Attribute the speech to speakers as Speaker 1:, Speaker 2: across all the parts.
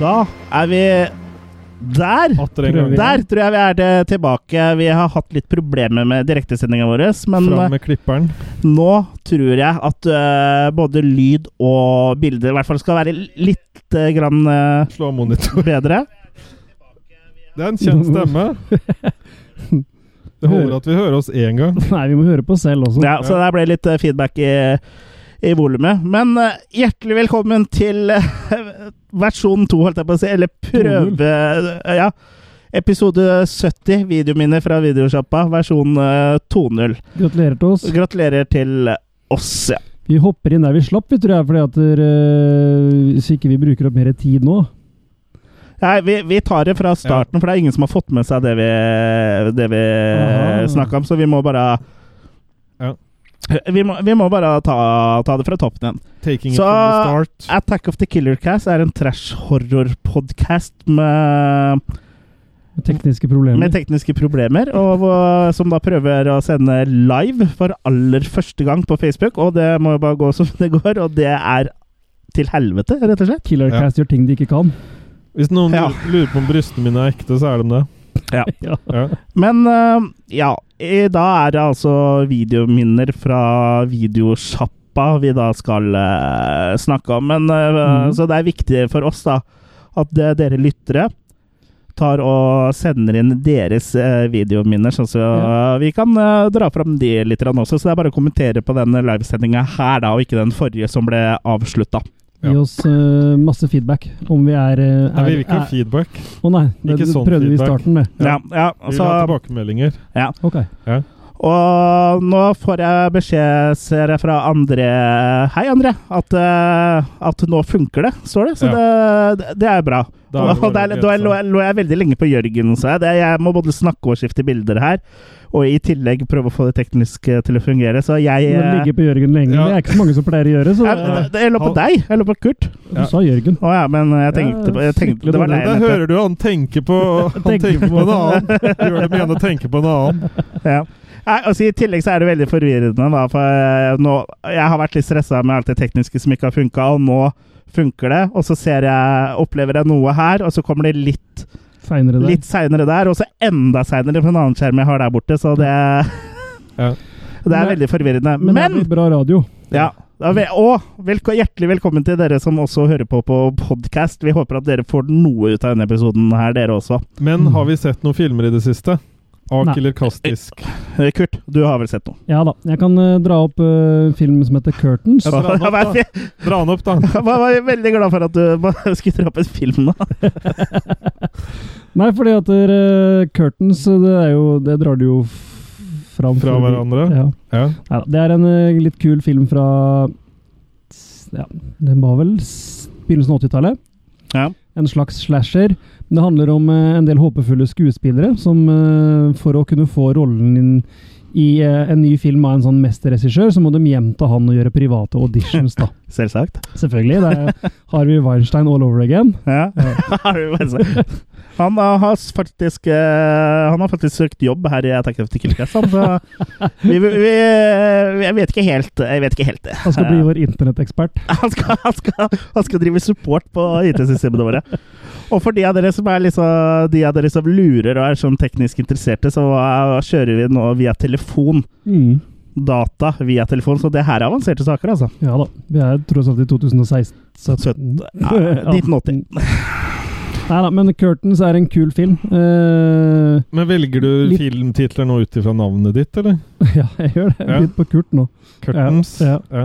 Speaker 1: Da er vi der!
Speaker 2: Atter en gang.
Speaker 1: Der tror jeg vi er til, tilbake. Vi har hatt litt problemer med direktesendinga vår, men eh,
Speaker 2: Fram med klipperen.
Speaker 1: nå tror jeg at øh, både lyd og bilder i hvert fall skal være litt øh, grann øh,
Speaker 2: Slå av monitor.
Speaker 1: bedre.
Speaker 2: Det er en kjent stemme. Det holder at vi hører oss én gang.
Speaker 3: Nei, vi må høre på oss selv også.
Speaker 1: Ja, så der ble litt øh, feedback i, i volumet. Men øh, hjertelig velkommen til øh, versjon to, holdt jeg på å si, eller prøve øh, Ja. Episode 70, videominner fra videosjappa, versjon øh, 2.0.
Speaker 3: Gratulerer til oss.
Speaker 1: Gratulerer til oss, ja.
Speaker 3: Vi hopper inn der vi slapp, vi tror jeg, fordi at eh, hvis ikke vi bruker opp mer tid nå
Speaker 1: Nei, vi, vi tar det fra starten, for det er ingen som har fått med seg det vi, det vi
Speaker 3: Aha.
Speaker 1: snakka om. Så vi må bare
Speaker 2: Ja.
Speaker 1: vi, må, vi må bare ta, ta det fra toppen igjen.
Speaker 2: Taking
Speaker 1: Så-
Speaker 2: it from the start.
Speaker 1: Attack of the Killer Cast er en trash horror-podkast med,
Speaker 3: med tekniske problemer.
Speaker 1: med tekniske problemer, og hvor- som da prøver å sende live for aller første gang på Facebook. Og det må jo bare gå som det går, og det er til helvete, rett og slett.
Speaker 3: Killer
Speaker 2: Ja.
Speaker 3: Cast gjør ting de ikke kan.
Speaker 2: Hvis noen
Speaker 1: Ja.
Speaker 2: lurer på om brystene mine er ekte, så er de det.
Speaker 3: Ja.
Speaker 2: Ja.
Speaker 1: Men eh, ja, i dag er det altså videominner fra videosjappa vi da skal eh, snakke om. Men, eh,
Speaker 3: Mhm.
Speaker 1: Så det er viktig for oss da, at det, dere lyttere tar og sender inn deres eh, videominner, sånn så
Speaker 3: Ja.
Speaker 1: eh, vi kan eh, dra fram de litt grann også. Så det er bare å kommentere på den livesendinga her, da, og ikke den forrige som ble avslutta.
Speaker 3: Gi
Speaker 2: Ja.
Speaker 3: oss eh, masse feedback om vi er, eh,
Speaker 2: Nei, vi
Speaker 3: er,
Speaker 2: vil ikke ha
Speaker 3: er
Speaker 2: feedback.
Speaker 3: Å nei, det,
Speaker 2: Ikke
Speaker 3: det
Speaker 2: sånn
Speaker 3: prøvde vi i
Speaker 2: feedback.
Speaker 3: starten med.
Speaker 2: Ja.
Speaker 1: Ja, ja,
Speaker 2: Vi vil
Speaker 1: så-
Speaker 2: ha tilbakemeldinger.
Speaker 3: Ok.
Speaker 1: Og nå får jeg beskjed, ser jeg, fra André Hei, André. At, eh, at nå funker det, står det. Så det, det er bra.
Speaker 2: Da er det
Speaker 1: og der,
Speaker 2: bare å
Speaker 1: da
Speaker 2: glede
Speaker 1: lå,
Speaker 2: seg.
Speaker 1: jeg- lå jeg veldig lenge på Jørgen, sa jeg. Det, jeg må både snakke og skifte bilder her. Og i tillegg prøve å få det tekniske til å fungere. Så jeg
Speaker 3: Å
Speaker 1: eh,
Speaker 3: ligge på Jørgen lenge,
Speaker 2: Ja.
Speaker 3: det er ikke så mange som pleier å gjøre. Så
Speaker 1: jeg,
Speaker 3: det,
Speaker 1: det- jeg lå på deg. Jeg lå på Kurt.
Speaker 3: du sa Jørgen.
Speaker 1: Å ja, men jeg tenkte, på- jeg tenkte Det var
Speaker 3: Nei,
Speaker 1: deg.
Speaker 2: Der
Speaker 1: Anette.
Speaker 2: hører du han tenker på Han
Speaker 3: Tenker
Speaker 2: tenker på
Speaker 3: på-
Speaker 2: en annen. Gjør det med en og tenker på en annen.
Speaker 1: Ja. Nei, altså, I tillegg så er det veldig forvirrende, da, for eh, nå, jeg har vært litt stressa med alt det tekniske som ikke har funka, og nå funker det. Og så ser jeg, opplever jeg noe her, og så kommer det litt,
Speaker 3: Seinere der.
Speaker 1: litt seinere der, og så enda seinere på en annen skjerm jeg har der borte, så det
Speaker 2: Ja.
Speaker 1: Det er veldig forvirrende.
Speaker 3: Men, det er
Speaker 1: Men
Speaker 3: blitt bra radio.
Speaker 1: ja. da vil- Og velko, hjertelig velkommen til dere som også hører på på podkast. Vi håper at dere får noe ut av denne episoden her, dere også.
Speaker 2: Men har vi sett noen filmer i det siste?
Speaker 3: Nei.
Speaker 2: Akiller Kastisk.
Speaker 1: Eh, Kurt, du har vel sett noe?
Speaker 3: Ja da. Jeg kan eh, dra opp eh, en film som heter Curtains.
Speaker 2: Ja, dra den opp, da. Dra han opp, da.
Speaker 1: Jeg var, var veldig glad for at du bare skulle dra opp en film nå.
Speaker 3: Nei, fordi at eh, Curtains, det er jo Det drar du jo f- fram
Speaker 2: Fra
Speaker 3: fordi-
Speaker 2: hverandre.
Speaker 3: Ja.
Speaker 2: Ja.
Speaker 3: Neida, det er en eh, litt kul film fra ja, Den var vel s- begynnelsen av 80-tallet.
Speaker 1: Ja.
Speaker 3: En slags slasher. Men det handler om eh, en del håpefulle skuespillere som eh, for å kunne få rollen inn i eh, en ny film av en sånn mesterregissør, så må de hjem til han og gjøre private auditions, da.
Speaker 1: Selvsagt.
Speaker 3: Selvfølgelig. Det er Harvey Weinstein all over again.
Speaker 1: Ja. han, eh, har faktisk, eh, han har faktisk søkt jobb her i Attack of the Killer Cast, han, så vi, vi, vi, jeg vet ikke helt Jeg vet ikke helt det.
Speaker 3: Han skal bli vår internettekspert.
Speaker 1: Han skal, han, skal, han skal drive support på IT-systemene våre. Og for de av dere som er liksom, de av dere som lurer og er sånn teknisk interesserte, så eh, kjører vi nå via telefon.
Speaker 3: Mm.
Speaker 1: Data via telefon, så det her er avanserte saker, altså.
Speaker 3: Ja da. Vi er tross alt i 2016
Speaker 1: Søtten.
Speaker 3: 17.
Speaker 1: Ja, 1980.
Speaker 3: Nei da, men Curtains er en kul film. Eh,
Speaker 2: Men velger du
Speaker 3: Litt-
Speaker 2: filmtitler nå ut ifra navnet ditt, eller?
Speaker 3: ja, jeg gjør det.
Speaker 2: Ja.
Speaker 3: Litt på Kurt nå.
Speaker 2: Curtains?
Speaker 3: Ja,
Speaker 2: ja.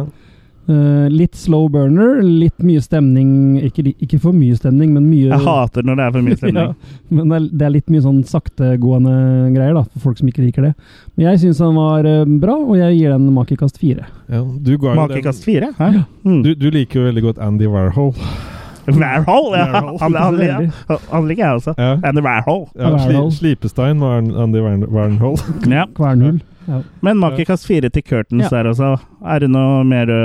Speaker 3: Eh, litt slow burner, litt mye stemning. Ikke, li- ikke for mye stemning, men mye
Speaker 1: Jeg hater når det er for mye stemning.
Speaker 3: Ja, men det er, det er litt mye sånn saktegående greier, da, for folk som ikke liker det. Men jeg syns han var eh, bra, og jeg gir den makekast fire.
Speaker 2: Ja, du, ga jo den,
Speaker 1: Makekast fire? Hæ? Mm.
Speaker 2: du, du liker jo veldig godt Andy Warhol.
Speaker 1: Warhol, ja.
Speaker 2: Warhol.
Speaker 1: Han, han,
Speaker 3: Veldig.
Speaker 1: han, han liker jeg også.
Speaker 2: Ja.
Speaker 1: Andy Warhol.
Speaker 2: Ja, sli,
Speaker 3: Warhol.
Speaker 2: slipestein var An- Andy Warn- Warhol.
Speaker 1: Ja.
Speaker 3: Kvernhull. Ja.
Speaker 1: Men makekast fire til Curtains
Speaker 3: Ja.
Speaker 1: der også. Er det noe mer du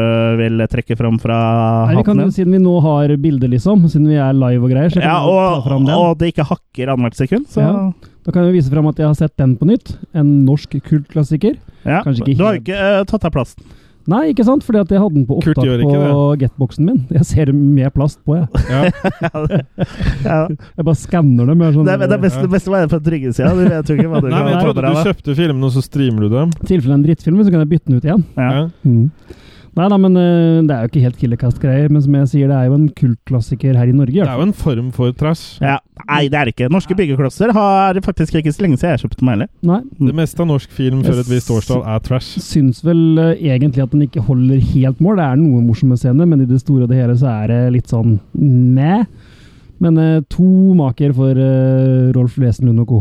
Speaker 1: vil trekke fram fra
Speaker 3: Nei, vi
Speaker 1: hatten
Speaker 3: kan,
Speaker 1: din?
Speaker 3: siden vi nå har bilder, liksom, siden vi er live og greier, så kan
Speaker 1: Ja,
Speaker 3: vi ta
Speaker 1: og,
Speaker 3: fram den.
Speaker 1: og det ikke hakker annethvert sekund, så ja.
Speaker 3: Ja. Da kan vi vise fram at jeg har sett den på nytt. En norsk kultklassiker. Kanskje ikke
Speaker 1: Du har jo
Speaker 3: helt-
Speaker 1: ikke eh, tatt av plasten.
Speaker 3: Nei, ikke sant? Fordi at jeg hadde den på
Speaker 2: Kurt
Speaker 3: opptak
Speaker 2: gjør ikke
Speaker 3: på getboxen min. Jeg ser med plast på, jeg.
Speaker 2: Ja.
Speaker 1: Ja.
Speaker 3: Jeg bare skanner dem. Jeg, Sånn er sånn,
Speaker 1: Det, er, det, er best, det beste var det på tryggesida. Du vet jo ikke hva du
Speaker 2: Nei,
Speaker 1: kan
Speaker 2: men jeg
Speaker 1: ha
Speaker 2: trodde
Speaker 1: bra
Speaker 2: du
Speaker 1: av.
Speaker 2: kjøpte filmene, og så streamer du dem.
Speaker 3: I tilfelle en drittfilm, så kan jeg bytte den ut igjen.
Speaker 1: Ja.
Speaker 2: Ja.
Speaker 3: Nei da, men øh, det er jo ikke helt Killercast-greier. Men som jeg sier, det er jo en kultklassiker her i Norge. i
Speaker 2: Det
Speaker 3: hvert
Speaker 2: er jo en form for trash.
Speaker 1: Ja. Nei, det er det ikke. Norske byggeklosser har faktisk ikke så lenge siden jeg kjøpte meg heller.
Speaker 3: fall. Nei.
Speaker 2: Det meste av norsk film før et visst årstall er trash.
Speaker 3: Syns vel øh, egentlig at den ikke holder helt mål. Det er noen morsomme scener, men i det store og det hele så er det litt sånn meh. Men øh, to maker for øh, Rolf Wesenlund og co.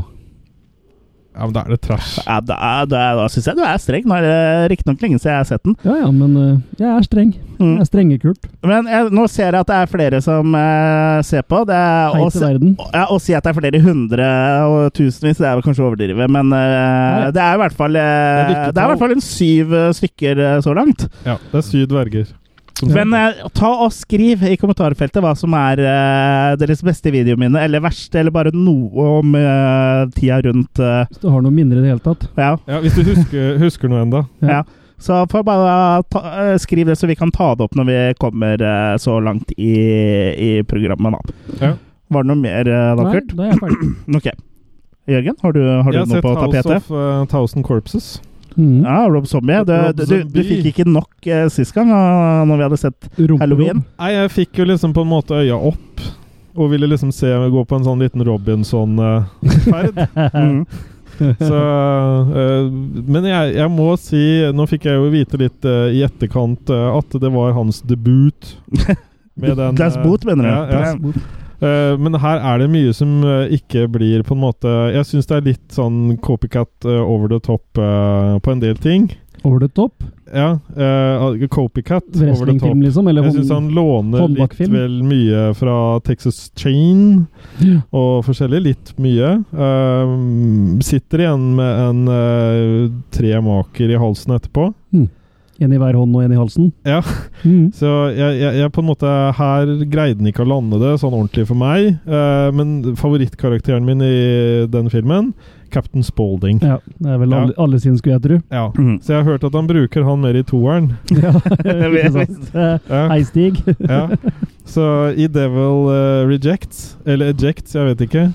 Speaker 2: Ja, men da er det trash.
Speaker 1: Ja, da da, da syns jeg du er streng. Nå er det riktignok lenge siden jeg har sett den.
Speaker 3: Ja ja, men øh, jeg er streng.
Speaker 1: Mm.
Speaker 3: Jeg er strenge-Kurt.
Speaker 1: Men jeg, nå ser jeg at det er flere som eh, ser på. Det er
Speaker 3: Hei
Speaker 1: å
Speaker 3: til
Speaker 1: se-
Speaker 3: verden.
Speaker 1: ja, å si at det er flere hundre og tusenvis, det er vel kanskje å overdrive, men eh,
Speaker 3: Nei.
Speaker 1: det er i hvert fall eh,
Speaker 2: Det er lykketall.
Speaker 1: Det er i hvert fall en syv eh, stykker eh, så langt.
Speaker 2: Ja, det er syv dverger. Som
Speaker 1: Men eh, ta og skriv i kommentarfeltet hva som er eh, deres beste videominne, eller verste, eller bare noe om eh, tida rundt eh,
Speaker 3: Hvis du har noe mindre i det hele tatt.
Speaker 1: Ja.
Speaker 2: ja, Hvis du husker, husker noe enda
Speaker 1: ja. Så får bare ta, eh, skriv det, så vi kan ta det opp når vi kommer eh, så langt i, i programmet, da.
Speaker 2: Ja.
Speaker 1: Var det noe mer, eh, da,
Speaker 3: Nei,
Speaker 1: Kurt?
Speaker 3: da er jeg ferdig.
Speaker 1: Ok. Jørgen, har du, har du
Speaker 2: Jeg har
Speaker 1: noe
Speaker 2: sett
Speaker 1: på
Speaker 2: House
Speaker 1: tapetet?
Speaker 2: of eh, Thousand Corpses.
Speaker 3: Mm.
Speaker 1: Ja, Rob Zombie. Du,
Speaker 2: Rob
Speaker 1: du, du, du
Speaker 2: Zombie.
Speaker 1: fikk ikke nok eh, sist gang, eh, når vi hadde sett
Speaker 3: Rumperom.
Speaker 1: Halloween.
Speaker 2: Nei, jeg fikk jo liksom på en måte øya opp. Og ville liksom se gå på en sånn liten eh, Robinson-ferd.
Speaker 1: Mm.
Speaker 2: Så, eh, men jeg, jeg må si Nå fikk jeg jo vite litt eh, i etterkant eh, at det var hans debut. med den,
Speaker 1: Das
Speaker 2: eh,
Speaker 1: Boot, mener du?
Speaker 2: ja, ja. Eh, men her er det mye som eh, ikke blir på en måte Jeg syns det er litt sånn copycat eh, over the top eh, på en del ting.
Speaker 3: Over the top.
Speaker 2: Ja, eh, copycat over the top.
Speaker 3: Wrestlingfilm, liksom. Eller
Speaker 2: Jeg syns han låner litt
Speaker 3: håndbakfilm.
Speaker 2: vel mye fra Texas Chain
Speaker 3: Ja.
Speaker 2: og forskjellig. Litt mye. Eh, sitter igjen med en eh, tre maker i halsen etterpå.
Speaker 3: En i hver hånd og en i halsen.
Speaker 2: Ja.
Speaker 3: Mm.
Speaker 2: Så jeg, jeg, jeg på en måte Her greide den ikke å lande det sånn ordentlig for meg. eh, men favorittkarakteren min i den filmen, Captain Spaulding.
Speaker 3: ja. Det er vel
Speaker 2: Ja.
Speaker 3: alle, alle sin, skulle jeg tro.
Speaker 2: Ja.
Speaker 1: Mm.
Speaker 2: Så jeg har hørt at han bruker han mer i toeren.
Speaker 3: Ja,
Speaker 1: vet
Speaker 3: ikke sant. Eh,
Speaker 2: Ja,
Speaker 3: Hei, Stig.
Speaker 2: ja. Så i Devil eh, Rejects, eller Ejects, jeg vet ikke.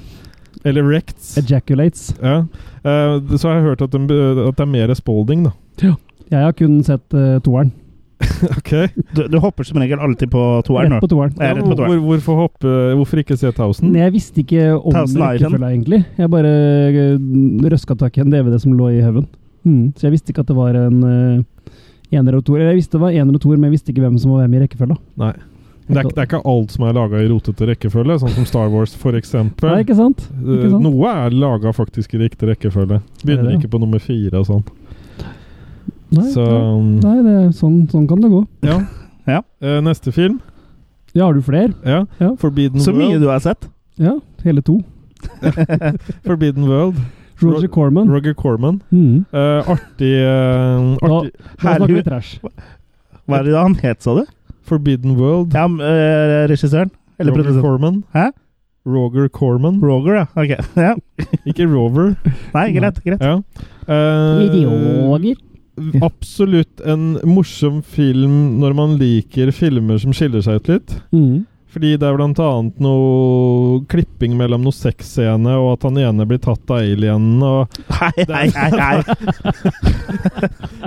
Speaker 2: Eller Rects.
Speaker 3: Ejaculates.
Speaker 2: Ja. Eh, så har jeg hørt at, den, be- at det er mer Spaulding, da.
Speaker 3: Jeg har kun sett eh, toeren.
Speaker 2: Ok?
Speaker 1: Du, du hopper som regel alltid på toeren.
Speaker 3: Rett på
Speaker 1: nå.
Speaker 3: toeren.
Speaker 1: Jeg er rett på toeren.
Speaker 2: hvor, hvorfor, hoppe, hvorfor ikke se 1000?
Speaker 3: Men jeg visste ikke om
Speaker 1: Thousand
Speaker 3: rekkefølga, egentlig. Jeg bare eh, røska tak i en DVD som lå i haugen. Mm. Så jeg visste ikke at det var en eh, ener og toer. Eller jeg visste det var ener og toer, men jeg visste ikke hvem som var hvem i rekkefølga.
Speaker 2: Nei. Det er, ikke- det er ikke alt som er laga i rotete rekkefølge, sånn som Star Wars f.eks.
Speaker 3: Nei, ikke sant? Ikke sant?
Speaker 2: Noe er laga faktisk i riktig rekkefølge. Begynner
Speaker 3: Er det det?
Speaker 2: ikke på nummer fire og sånn.
Speaker 3: Nei,
Speaker 2: Så um,
Speaker 3: nei. Nei, det, er- sånn, sånn kan det gå.
Speaker 2: ja.
Speaker 1: Ja.
Speaker 2: Eh, neste film.
Speaker 3: Ja, har du flere?
Speaker 2: Ja.
Speaker 3: Ja.
Speaker 2: Forbidden,
Speaker 1: Så mye
Speaker 2: World.
Speaker 1: du har sett.
Speaker 3: Ja, hele to.
Speaker 2: Forbidden World.
Speaker 3: Roger
Speaker 2: Ro-
Speaker 3: Corman.
Speaker 2: Roger Corman.
Speaker 3: Mm.
Speaker 2: Eh, artig eh, artig
Speaker 3: Da
Speaker 1: Herlig.
Speaker 3: snakker vi trash.
Speaker 1: Hva er det han het, sa du?
Speaker 2: Forbidden World.
Speaker 1: Ja, m- eh, regissøren? Eller
Speaker 2: Roger
Speaker 1: produsenten?
Speaker 2: Corman.
Speaker 1: Hæ?
Speaker 2: Roger Corman.
Speaker 1: Roger, ja. Ok. Ja.
Speaker 2: Ikke Rover.
Speaker 1: Nei, greit. greit.
Speaker 2: Ja. Eh,
Speaker 3: Idioger.
Speaker 2: absolutt en morsom film når man liker filmer som skiller seg ut litt.
Speaker 3: Mm.
Speaker 2: Fordi det er blant annet noe klipping mellom noe sexscene, og at han ene blir tatt av alienen, og
Speaker 1: Hei, hei, hei. hei.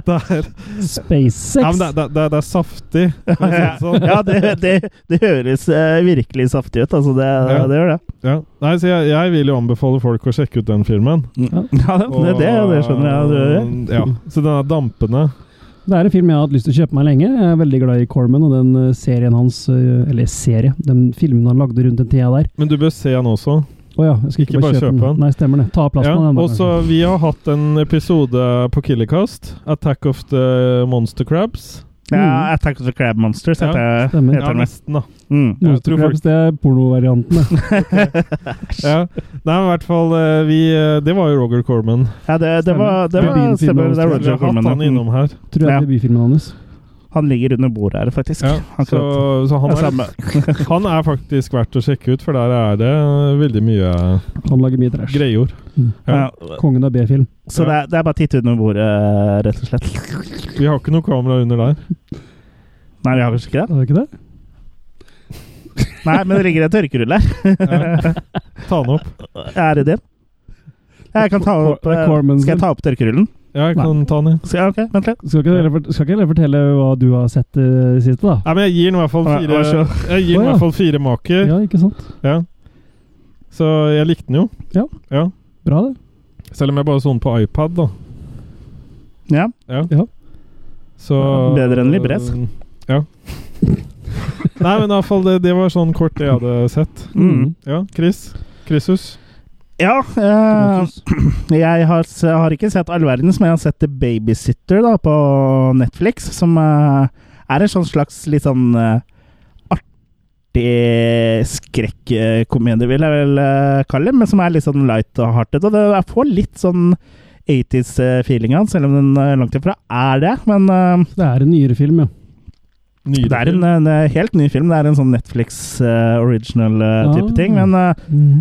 Speaker 2: det er,
Speaker 3: SpaceX.
Speaker 2: ja, men det, det, det, det er saftig. for å si det sånn.
Speaker 1: Ja, det, det, det høres eh, virkelig saftig ut. Altså, det,
Speaker 2: Ja.
Speaker 1: det gjør det.
Speaker 2: Ja. Nei, så jeg, jeg vil jo anbefale folk å sjekke ut den filmen.
Speaker 1: Ja, det, det, det, det skjønner jeg. Det, gjør jeg.
Speaker 2: Og- ja. Så den er dampende.
Speaker 3: Det er en film jeg har hatt lyst til å kjøpe meg lenge. Jeg er veldig glad i Corman og den eh, serien hans eh, Eller serie, den filmen han lagde rundt den tida der.
Speaker 2: Men du bør se den også.
Speaker 3: Å ja, jeg skal ikke,
Speaker 2: Ikke
Speaker 3: bare kjøpe den. Nei, stemmer det. Ta av plassen
Speaker 2: Ja.
Speaker 3: av den. da,
Speaker 2: Og så vi har hatt en episode på Killercast. 'Attack of the Monster Crabs'.
Speaker 3: Mm.
Speaker 1: Ja, Attack of the Crab Monsters heter,
Speaker 2: Ja,
Speaker 3: stemmer.
Speaker 1: heter
Speaker 2: Ja,
Speaker 1: den.
Speaker 2: nesten, da.
Speaker 1: Mm.
Speaker 3: kanskje.
Speaker 2: jeg tror folk-
Speaker 3: Monstercrabs, det er pornovarianten. det.
Speaker 2: Ja. Nei, men i hvert fall eh, vi, eh, Det var jo Roger Corman.
Speaker 1: Ja, det, det var, det
Speaker 3: Stemmer.
Speaker 1: var,
Speaker 3: Debuten
Speaker 1: stemmer, det er
Speaker 3: filmen
Speaker 2: Vi
Speaker 1: Roger
Speaker 2: har hatt
Speaker 1: Corman.
Speaker 2: han
Speaker 1: ja. Mm.
Speaker 2: innom her.
Speaker 3: Tror jeg
Speaker 1: Ja.
Speaker 3: er debutfilmen hans.
Speaker 1: Han ligger under bordet her, faktisk.
Speaker 2: Ja,
Speaker 1: Han
Speaker 2: så,
Speaker 1: kan-
Speaker 2: så han,
Speaker 1: Det er
Speaker 2: er,
Speaker 1: samme.
Speaker 2: han er faktisk verdt å sjekke ut, for der er det eh, veldig mye
Speaker 3: Han lager mye trash.
Speaker 2: greier.
Speaker 1: Ja.
Speaker 2: Ja.
Speaker 3: Kongen av B-film.
Speaker 1: Så det er, det er bare å titte under bordet, rett og slett.
Speaker 2: Vi har ikke noe kamera under der.
Speaker 1: Nei, vi har kanskje ikke det?
Speaker 3: Er det ikke det?
Speaker 1: Nei, men det ligger en tørkerulle her.
Speaker 2: Ja. Ta den opp.
Speaker 1: Er det din? Jeg kan ta opp
Speaker 3: Det er
Speaker 1: eh,
Speaker 3: Cormans
Speaker 1: Skal jeg ta opp tørkerullen?
Speaker 2: Ja, jeg kan ta den inn.
Speaker 1: Skal jeg, ok, vent litt.
Speaker 3: Skal ikke dere fort- skal ikke dere fortelle hva du har sett i det siste, da?
Speaker 2: Nei, men jeg gir den i hvert fall
Speaker 1: Ja,
Speaker 2: fire,
Speaker 1: vær
Speaker 2: jeg gir den i
Speaker 3: Å, ja.
Speaker 2: hvert fall fire maker.
Speaker 3: Ja, ikke sant?
Speaker 2: Ja. Så jeg likte den jo.
Speaker 3: Ja. Bra, det.
Speaker 2: Selv om jeg bare så den på iPad, da.
Speaker 1: Ja.
Speaker 2: Så eh,
Speaker 1: Bedre enn Libres.
Speaker 2: Ja. Nei, men i hvert fall det, det var sånn kort det jeg hadde sett.
Speaker 1: Mm.
Speaker 2: Ja, Chris. Chrisus.
Speaker 1: Ja. eh,
Speaker 3: Mm.
Speaker 1: jeg har, s- har ikke sett all verdens, men jeg har sett The Babysitter da, på Netflix, som eh, er en sånn slags litt sånn eh, artig skrekkomedie, vil jeg vel eh, kalle det, men som er litt sånn light og hearted. Og det, jeg får litt sånn 80s-feelinga, selv om den eh, langt ifra er det. Men eh,
Speaker 3: Det er en nyere film, ja.
Speaker 2: Nyere
Speaker 1: det er en,
Speaker 2: film.
Speaker 1: eh, helt ny film. Det er en sånn Netflix eh, original eh, type
Speaker 3: Ah.
Speaker 1: ting. Men eh,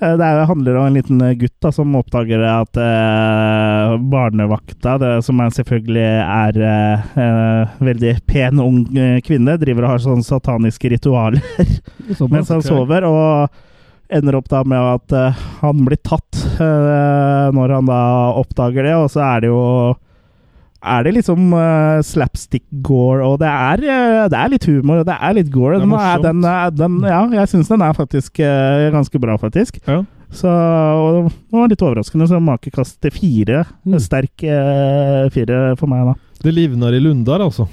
Speaker 1: Eh, Det er- handler om en liten eh, gutt da, som oppdager at eh, barnevakta, det, som er selvfølgelig er eh, eh, veldig pen ung eh, kvinne, driver og har sånne sataniske ritualer
Speaker 3: Såpass.
Speaker 1: mens han
Speaker 2: ok.
Speaker 1: sover, og ender opp da med at eh, han blir tatt eh, når han da oppdager det, og så er det jo er det liksom eh, slapstick gore, og det er, eh, det er litt humor, og det er litt gore.
Speaker 2: Det er
Speaker 1: Den er,
Speaker 2: morsomt.
Speaker 1: den er, den, ja, jeg syns den er faktisk eh, ganske bra, faktisk.
Speaker 2: Ja.
Speaker 1: Så og det var litt overraskende, så makekast til fire.
Speaker 3: Mm.
Speaker 1: Sterk eh, fire for meg, da.
Speaker 2: Det livner i Lundar, altså.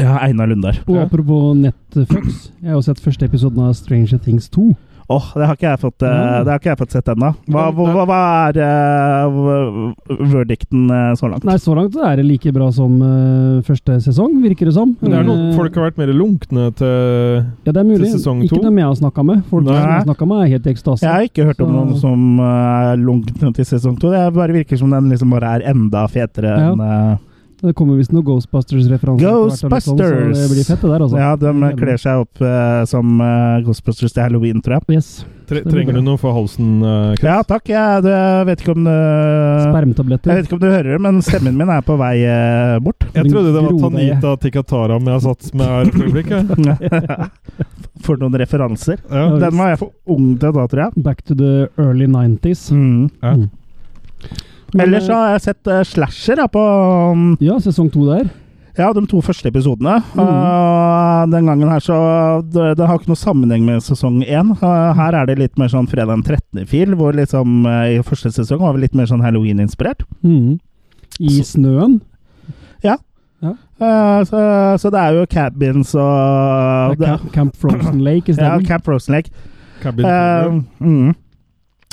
Speaker 1: Ja, Einar Lundar.
Speaker 3: Og
Speaker 2: Ja.
Speaker 3: apropos Netflix, jeg har jo sett første episoden av Stranger Things 2.
Speaker 1: Åh, det har ikke jeg fått, eh,
Speaker 3: Mm.
Speaker 1: det har ikke jeg fått sett ennå. Hva,
Speaker 2: Nei.
Speaker 1: hva, hva- hva er eh, v- v- verdicten eh, så langt?
Speaker 3: Nei, så langt så er det like bra som eh, første sesong, virker det som.
Speaker 2: Det er noen,
Speaker 3: Eh,
Speaker 2: folk har vært mer lunkne til
Speaker 3: ja, det er mulig.
Speaker 2: til sesong to.
Speaker 3: Ikke dem jeg har snakka med. Folk
Speaker 1: Nei.
Speaker 3: som jeg har snakka med, er helt i ekstase.
Speaker 1: Jeg har ikke hørt om
Speaker 3: Så-
Speaker 1: noen som eh, er lunkne til sesong to. Det bare virker som den liksom bare er enda fetere
Speaker 3: Ja.
Speaker 1: enn eh,
Speaker 3: Det kommer visst noen Ghostbusters-referanser. etter hvert, eller sånn, Så det
Speaker 1: Ghostbusters!
Speaker 3: blir fett, det der, altså.
Speaker 1: Ja, de kler seg opp eh, som eh, Ghostbusters til halloween, tror jeg.
Speaker 3: Yes.
Speaker 2: tre, Trenger du noe for halsen, eh, Chris?
Speaker 1: Ja, takk. Jeg, jeg vet ikke om det Eh, Jeg
Speaker 3: Spermtabletter.
Speaker 1: vet ikke om du hører det, men stemmen min er på vei eh, bort.
Speaker 2: Jeg trodde det var
Speaker 3: Gro deg.
Speaker 2: Tanita Tikatara men jeg satt med her et øyeblikk. jeg.
Speaker 1: For noen referanser.
Speaker 2: Ja.
Speaker 1: Den var jeg for ung til da, tror jeg.
Speaker 3: Back to the early 90s.
Speaker 1: Mm.
Speaker 2: Ja.
Speaker 3: Mm. Men,
Speaker 1: Ellers så
Speaker 3: eh,
Speaker 1: har jeg sett eh, slasher da, på um,
Speaker 3: Ja, sesong to der.
Speaker 1: ja, de to første episodene.
Speaker 3: Mhm.
Speaker 1: Og den gangen her så det, det har ikke noe sammenheng med sesong én. Eh, her er det litt mer sånn fredag den 13.-fil, hvor liksom eh, i første sesong var vi litt mer sånn halloween-inspirert.
Speaker 3: Mm. I
Speaker 1: Så-
Speaker 3: snøen.
Speaker 1: Eh, så, så det er jo cabins og
Speaker 3: Det er Eh, Camp, Camp Frozen Lake
Speaker 1: ja,
Speaker 3: isteden.
Speaker 1: Camp Frozen Lake.
Speaker 2: Cabin
Speaker 1: Eh,
Speaker 2: fever.
Speaker 1: mm.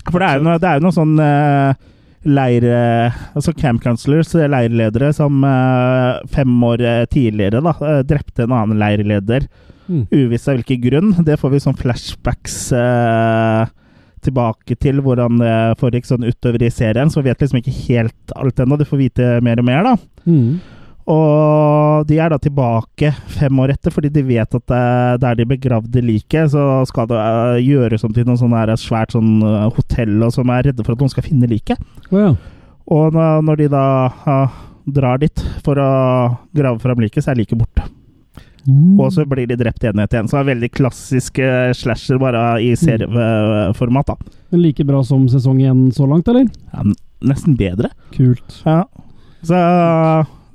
Speaker 1: For det er jo noe, det er jo noe sånn eh, leir... eh, Altså camp counselors, eh, leirledere, som eh, fem år eh, tidligere da, eh, drepte en annen leirleder.
Speaker 3: Mm.
Speaker 1: Uvisst av hvilken grunn. Det får vi sånn flashbacks eh, tilbake til hvordan det foregikk sånn utover i serien. Så vi vet liksom ikke helt alt ennå. Du får vite mer og mer, da.
Speaker 3: Mm.
Speaker 1: Og de er da tilbake fem år etter, fordi de vet at eh, der de begravde liket, så skal det eh, gjøres om til noe sånn her svært sånn eh, hotell, og som er redde for at noen skal finne liket.
Speaker 3: Å ja.
Speaker 1: Og når når de da eh, drar dit for å grave fram liket, så er liket borte. Og så blir de drept en etter en. Så det er veldig klassisk eh, slasher, bare i serieformat, da.
Speaker 3: Men like bra som sesong én så langt, eller?
Speaker 1: Ja, n- nesten bedre.
Speaker 3: Kult.
Speaker 1: Ja. Så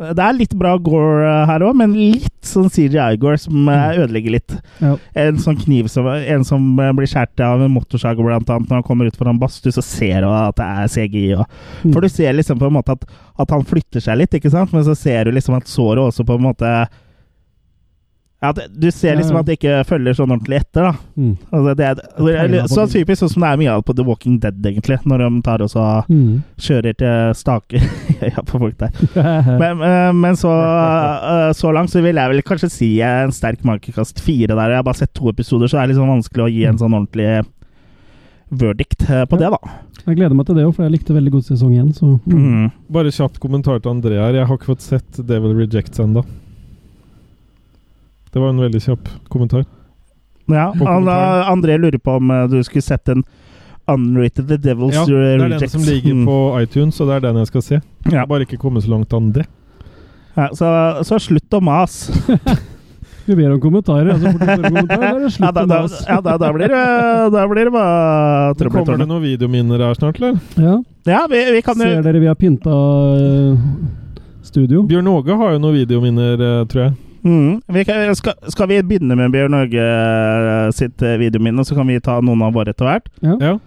Speaker 1: det er litt bra gore eh, her òg, men litt sånn CGI-gore som eh, ødelegger litt.
Speaker 3: Mm. Ja.
Speaker 1: En sånn kniv som, en som eh, blir skåret av en motorsag, blant annet. Når han kommer ut foran badstue, så ser du at det er CGI. Og.
Speaker 3: Mm.
Speaker 1: For du ser liksom på en måte at, at han flytter seg litt, ikke sant? Men så ser du liksom at såret også på en måte ja, det- Du ser liksom
Speaker 3: Ja, ja.
Speaker 1: at det ikke følger sånn ordentlig etter, da.
Speaker 3: Mm.
Speaker 1: Altså, det er, det er, litt så typisk sånn som det er mye av på The Walking Dead, egentlig. Når de tar og så
Speaker 3: Mm.
Speaker 1: kjører til staker ja, på folk der. Men, eh, men så, eh, så langt så vil jeg vel kanskje si en sterk makekast fire der. Jeg har bare sett to episoder, så det er litt sånn vanskelig å gi en sånn ordentlig verdict eh, på det, da.
Speaker 3: jeg gleder meg til det òg, for jeg likte veldig godt sesong én. Så.
Speaker 1: Mm.
Speaker 2: Bare kjapt kommentar til André her. Jeg har ikke fått sett Devil Rejects ennå. Det var en veldig kjapp kommentar.
Speaker 1: Ja,
Speaker 2: På
Speaker 1: han,
Speaker 2: kommentaren.
Speaker 1: André lurer på om eh, du skulle sett den unrated The Devil's
Speaker 2: Ja, det
Speaker 1: Rejects.
Speaker 2: er den som ligger på iTunes, og det er den jeg skal se.
Speaker 1: Mm. ja.
Speaker 2: Bare ikke komme så langt an det.
Speaker 1: Ja, så, så slutt å mase.
Speaker 3: Vi ber om kommentarer, og så fort du får en kommentar, da er det
Speaker 1: Ja,
Speaker 3: slutt
Speaker 1: da,
Speaker 3: å
Speaker 1: da,
Speaker 3: mase.
Speaker 1: ja da, da, blir det, da blir det bare trøbbel i
Speaker 2: Kommer det
Speaker 1: tårnet.
Speaker 2: noen videominner her snart, eller?
Speaker 3: Ja.
Speaker 1: Ja, vi, vi kan
Speaker 3: Ser
Speaker 1: jo
Speaker 3: dere vi har pynta eh, studio?
Speaker 2: Bjørn Åge har jo noen videominner, eh, tror jeg.
Speaker 1: mm, vi kan, skal, skal vi begynne med Bjørn Norge sitt eh, videominne, så kan vi ta noen av våre etter hvert?
Speaker 2: Ja.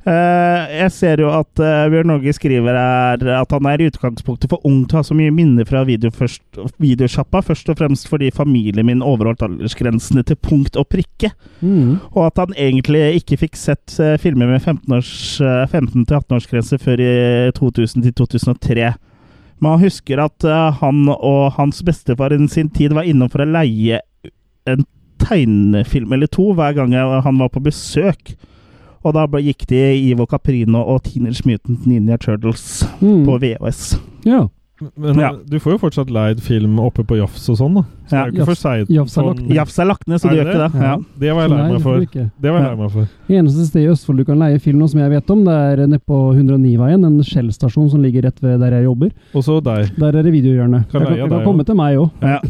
Speaker 1: Eh, jeg ser jo at eh, Bjørn Åge skriver her at han er i utgangspunktet for ung til å ha så mye minner fra video først, videosjappa, først og fremst fordi familien min overholdt aldersgrensene til punkt og prikke,
Speaker 3: Mm.
Speaker 1: og at han egentlig ikke fikk sett eh, filmer med eh, 15-18-årsgrense før i 2000-2003. Men han husker at eh, han og hans bestefar i sin tid var innom for å leie en tegnefilm eller to hver gang jeg- han var på besøk. Og da ble- gikk de Ivo Caprino og Teenage Mutant Ninja Turtles
Speaker 3: Mm.
Speaker 1: på VHS.
Speaker 3: Ja.
Speaker 2: Men
Speaker 1: Ja.
Speaker 2: du får jo fortsatt leid film oppe på Jafs og sånn, da. Så
Speaker 1: Ja,
Speaker 2: det er jo ikke for seint.
Speaker 3: Jafs er lagt
Speaker 2: sånn-
Speaker 1: Jafs er lagt ned, så
Speaker 2: Er
Speaker 1: du
Speaker 2: det
Speaker 1: gjør ikke
Speaker 2: det?
Speaker 1: det? Ja.
Speaker 2: Det var jeg lei
Speaker 3: Nei,
Speaker 2: meg
Speaker 3: det får
Speaker 2: for.
Speaker 3: du ikke.
Speaker 2: Det var jeg
Speaker 1: Ja.
Speaker 2: lei meg for.
Speaker 3: Det eneste stedet i Østfold du kan leie film nå som jeg vet om, det er nede på 109-veien, en Shell-stasjon som ligger rett ved der jeg jobber.
Speaker 2: Og så deg.
Speaker 3: Der er det
Speaker 2: Kan
Speaker 3: videohjørne. Jeg kan,
Speaker 2: leie
Speaker 3: jeg
Speaker 2: deg
Speaker 3: kan komme til meg òg.
Speaker 1: Ja.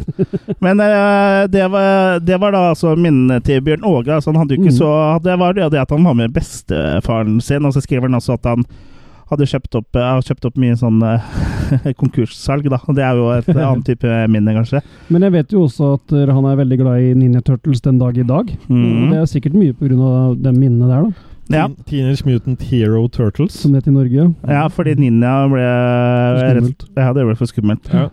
Speaker 1: Men eh, det, var, det var da altså minnene til Bjørn Åge. Altså, han hadde jo ikke
Speaker 3: Mm.
Speaker 1: så Det var jo det at han var med bestefaren sin, og så skriver han også at han hadde kjøpt opp, eh, har kjøpt opp mye sånn eh, konkurssalg, da. Og Det er jo et annet type minne, kanskje.
Speaker 3: Men jeg vet jo også at eh, han er veldig glad i Ninja Turtles den dag i dag. Og Det
Speaker 1: Mm.
Speaker 3: er sikkert mye pga. de minnene der, da,
Speaker 1: Ja.
Speaker 2: Teen- Teenage Mutant Hero Turtles.
Speaker 3: som det heter i Norge.
Speaker 1: ja, fordi ninja ble
Speaker 3: Skummelt.
Speaker 1: Ja, det ble for skummelt.
Speaker 2: Ja.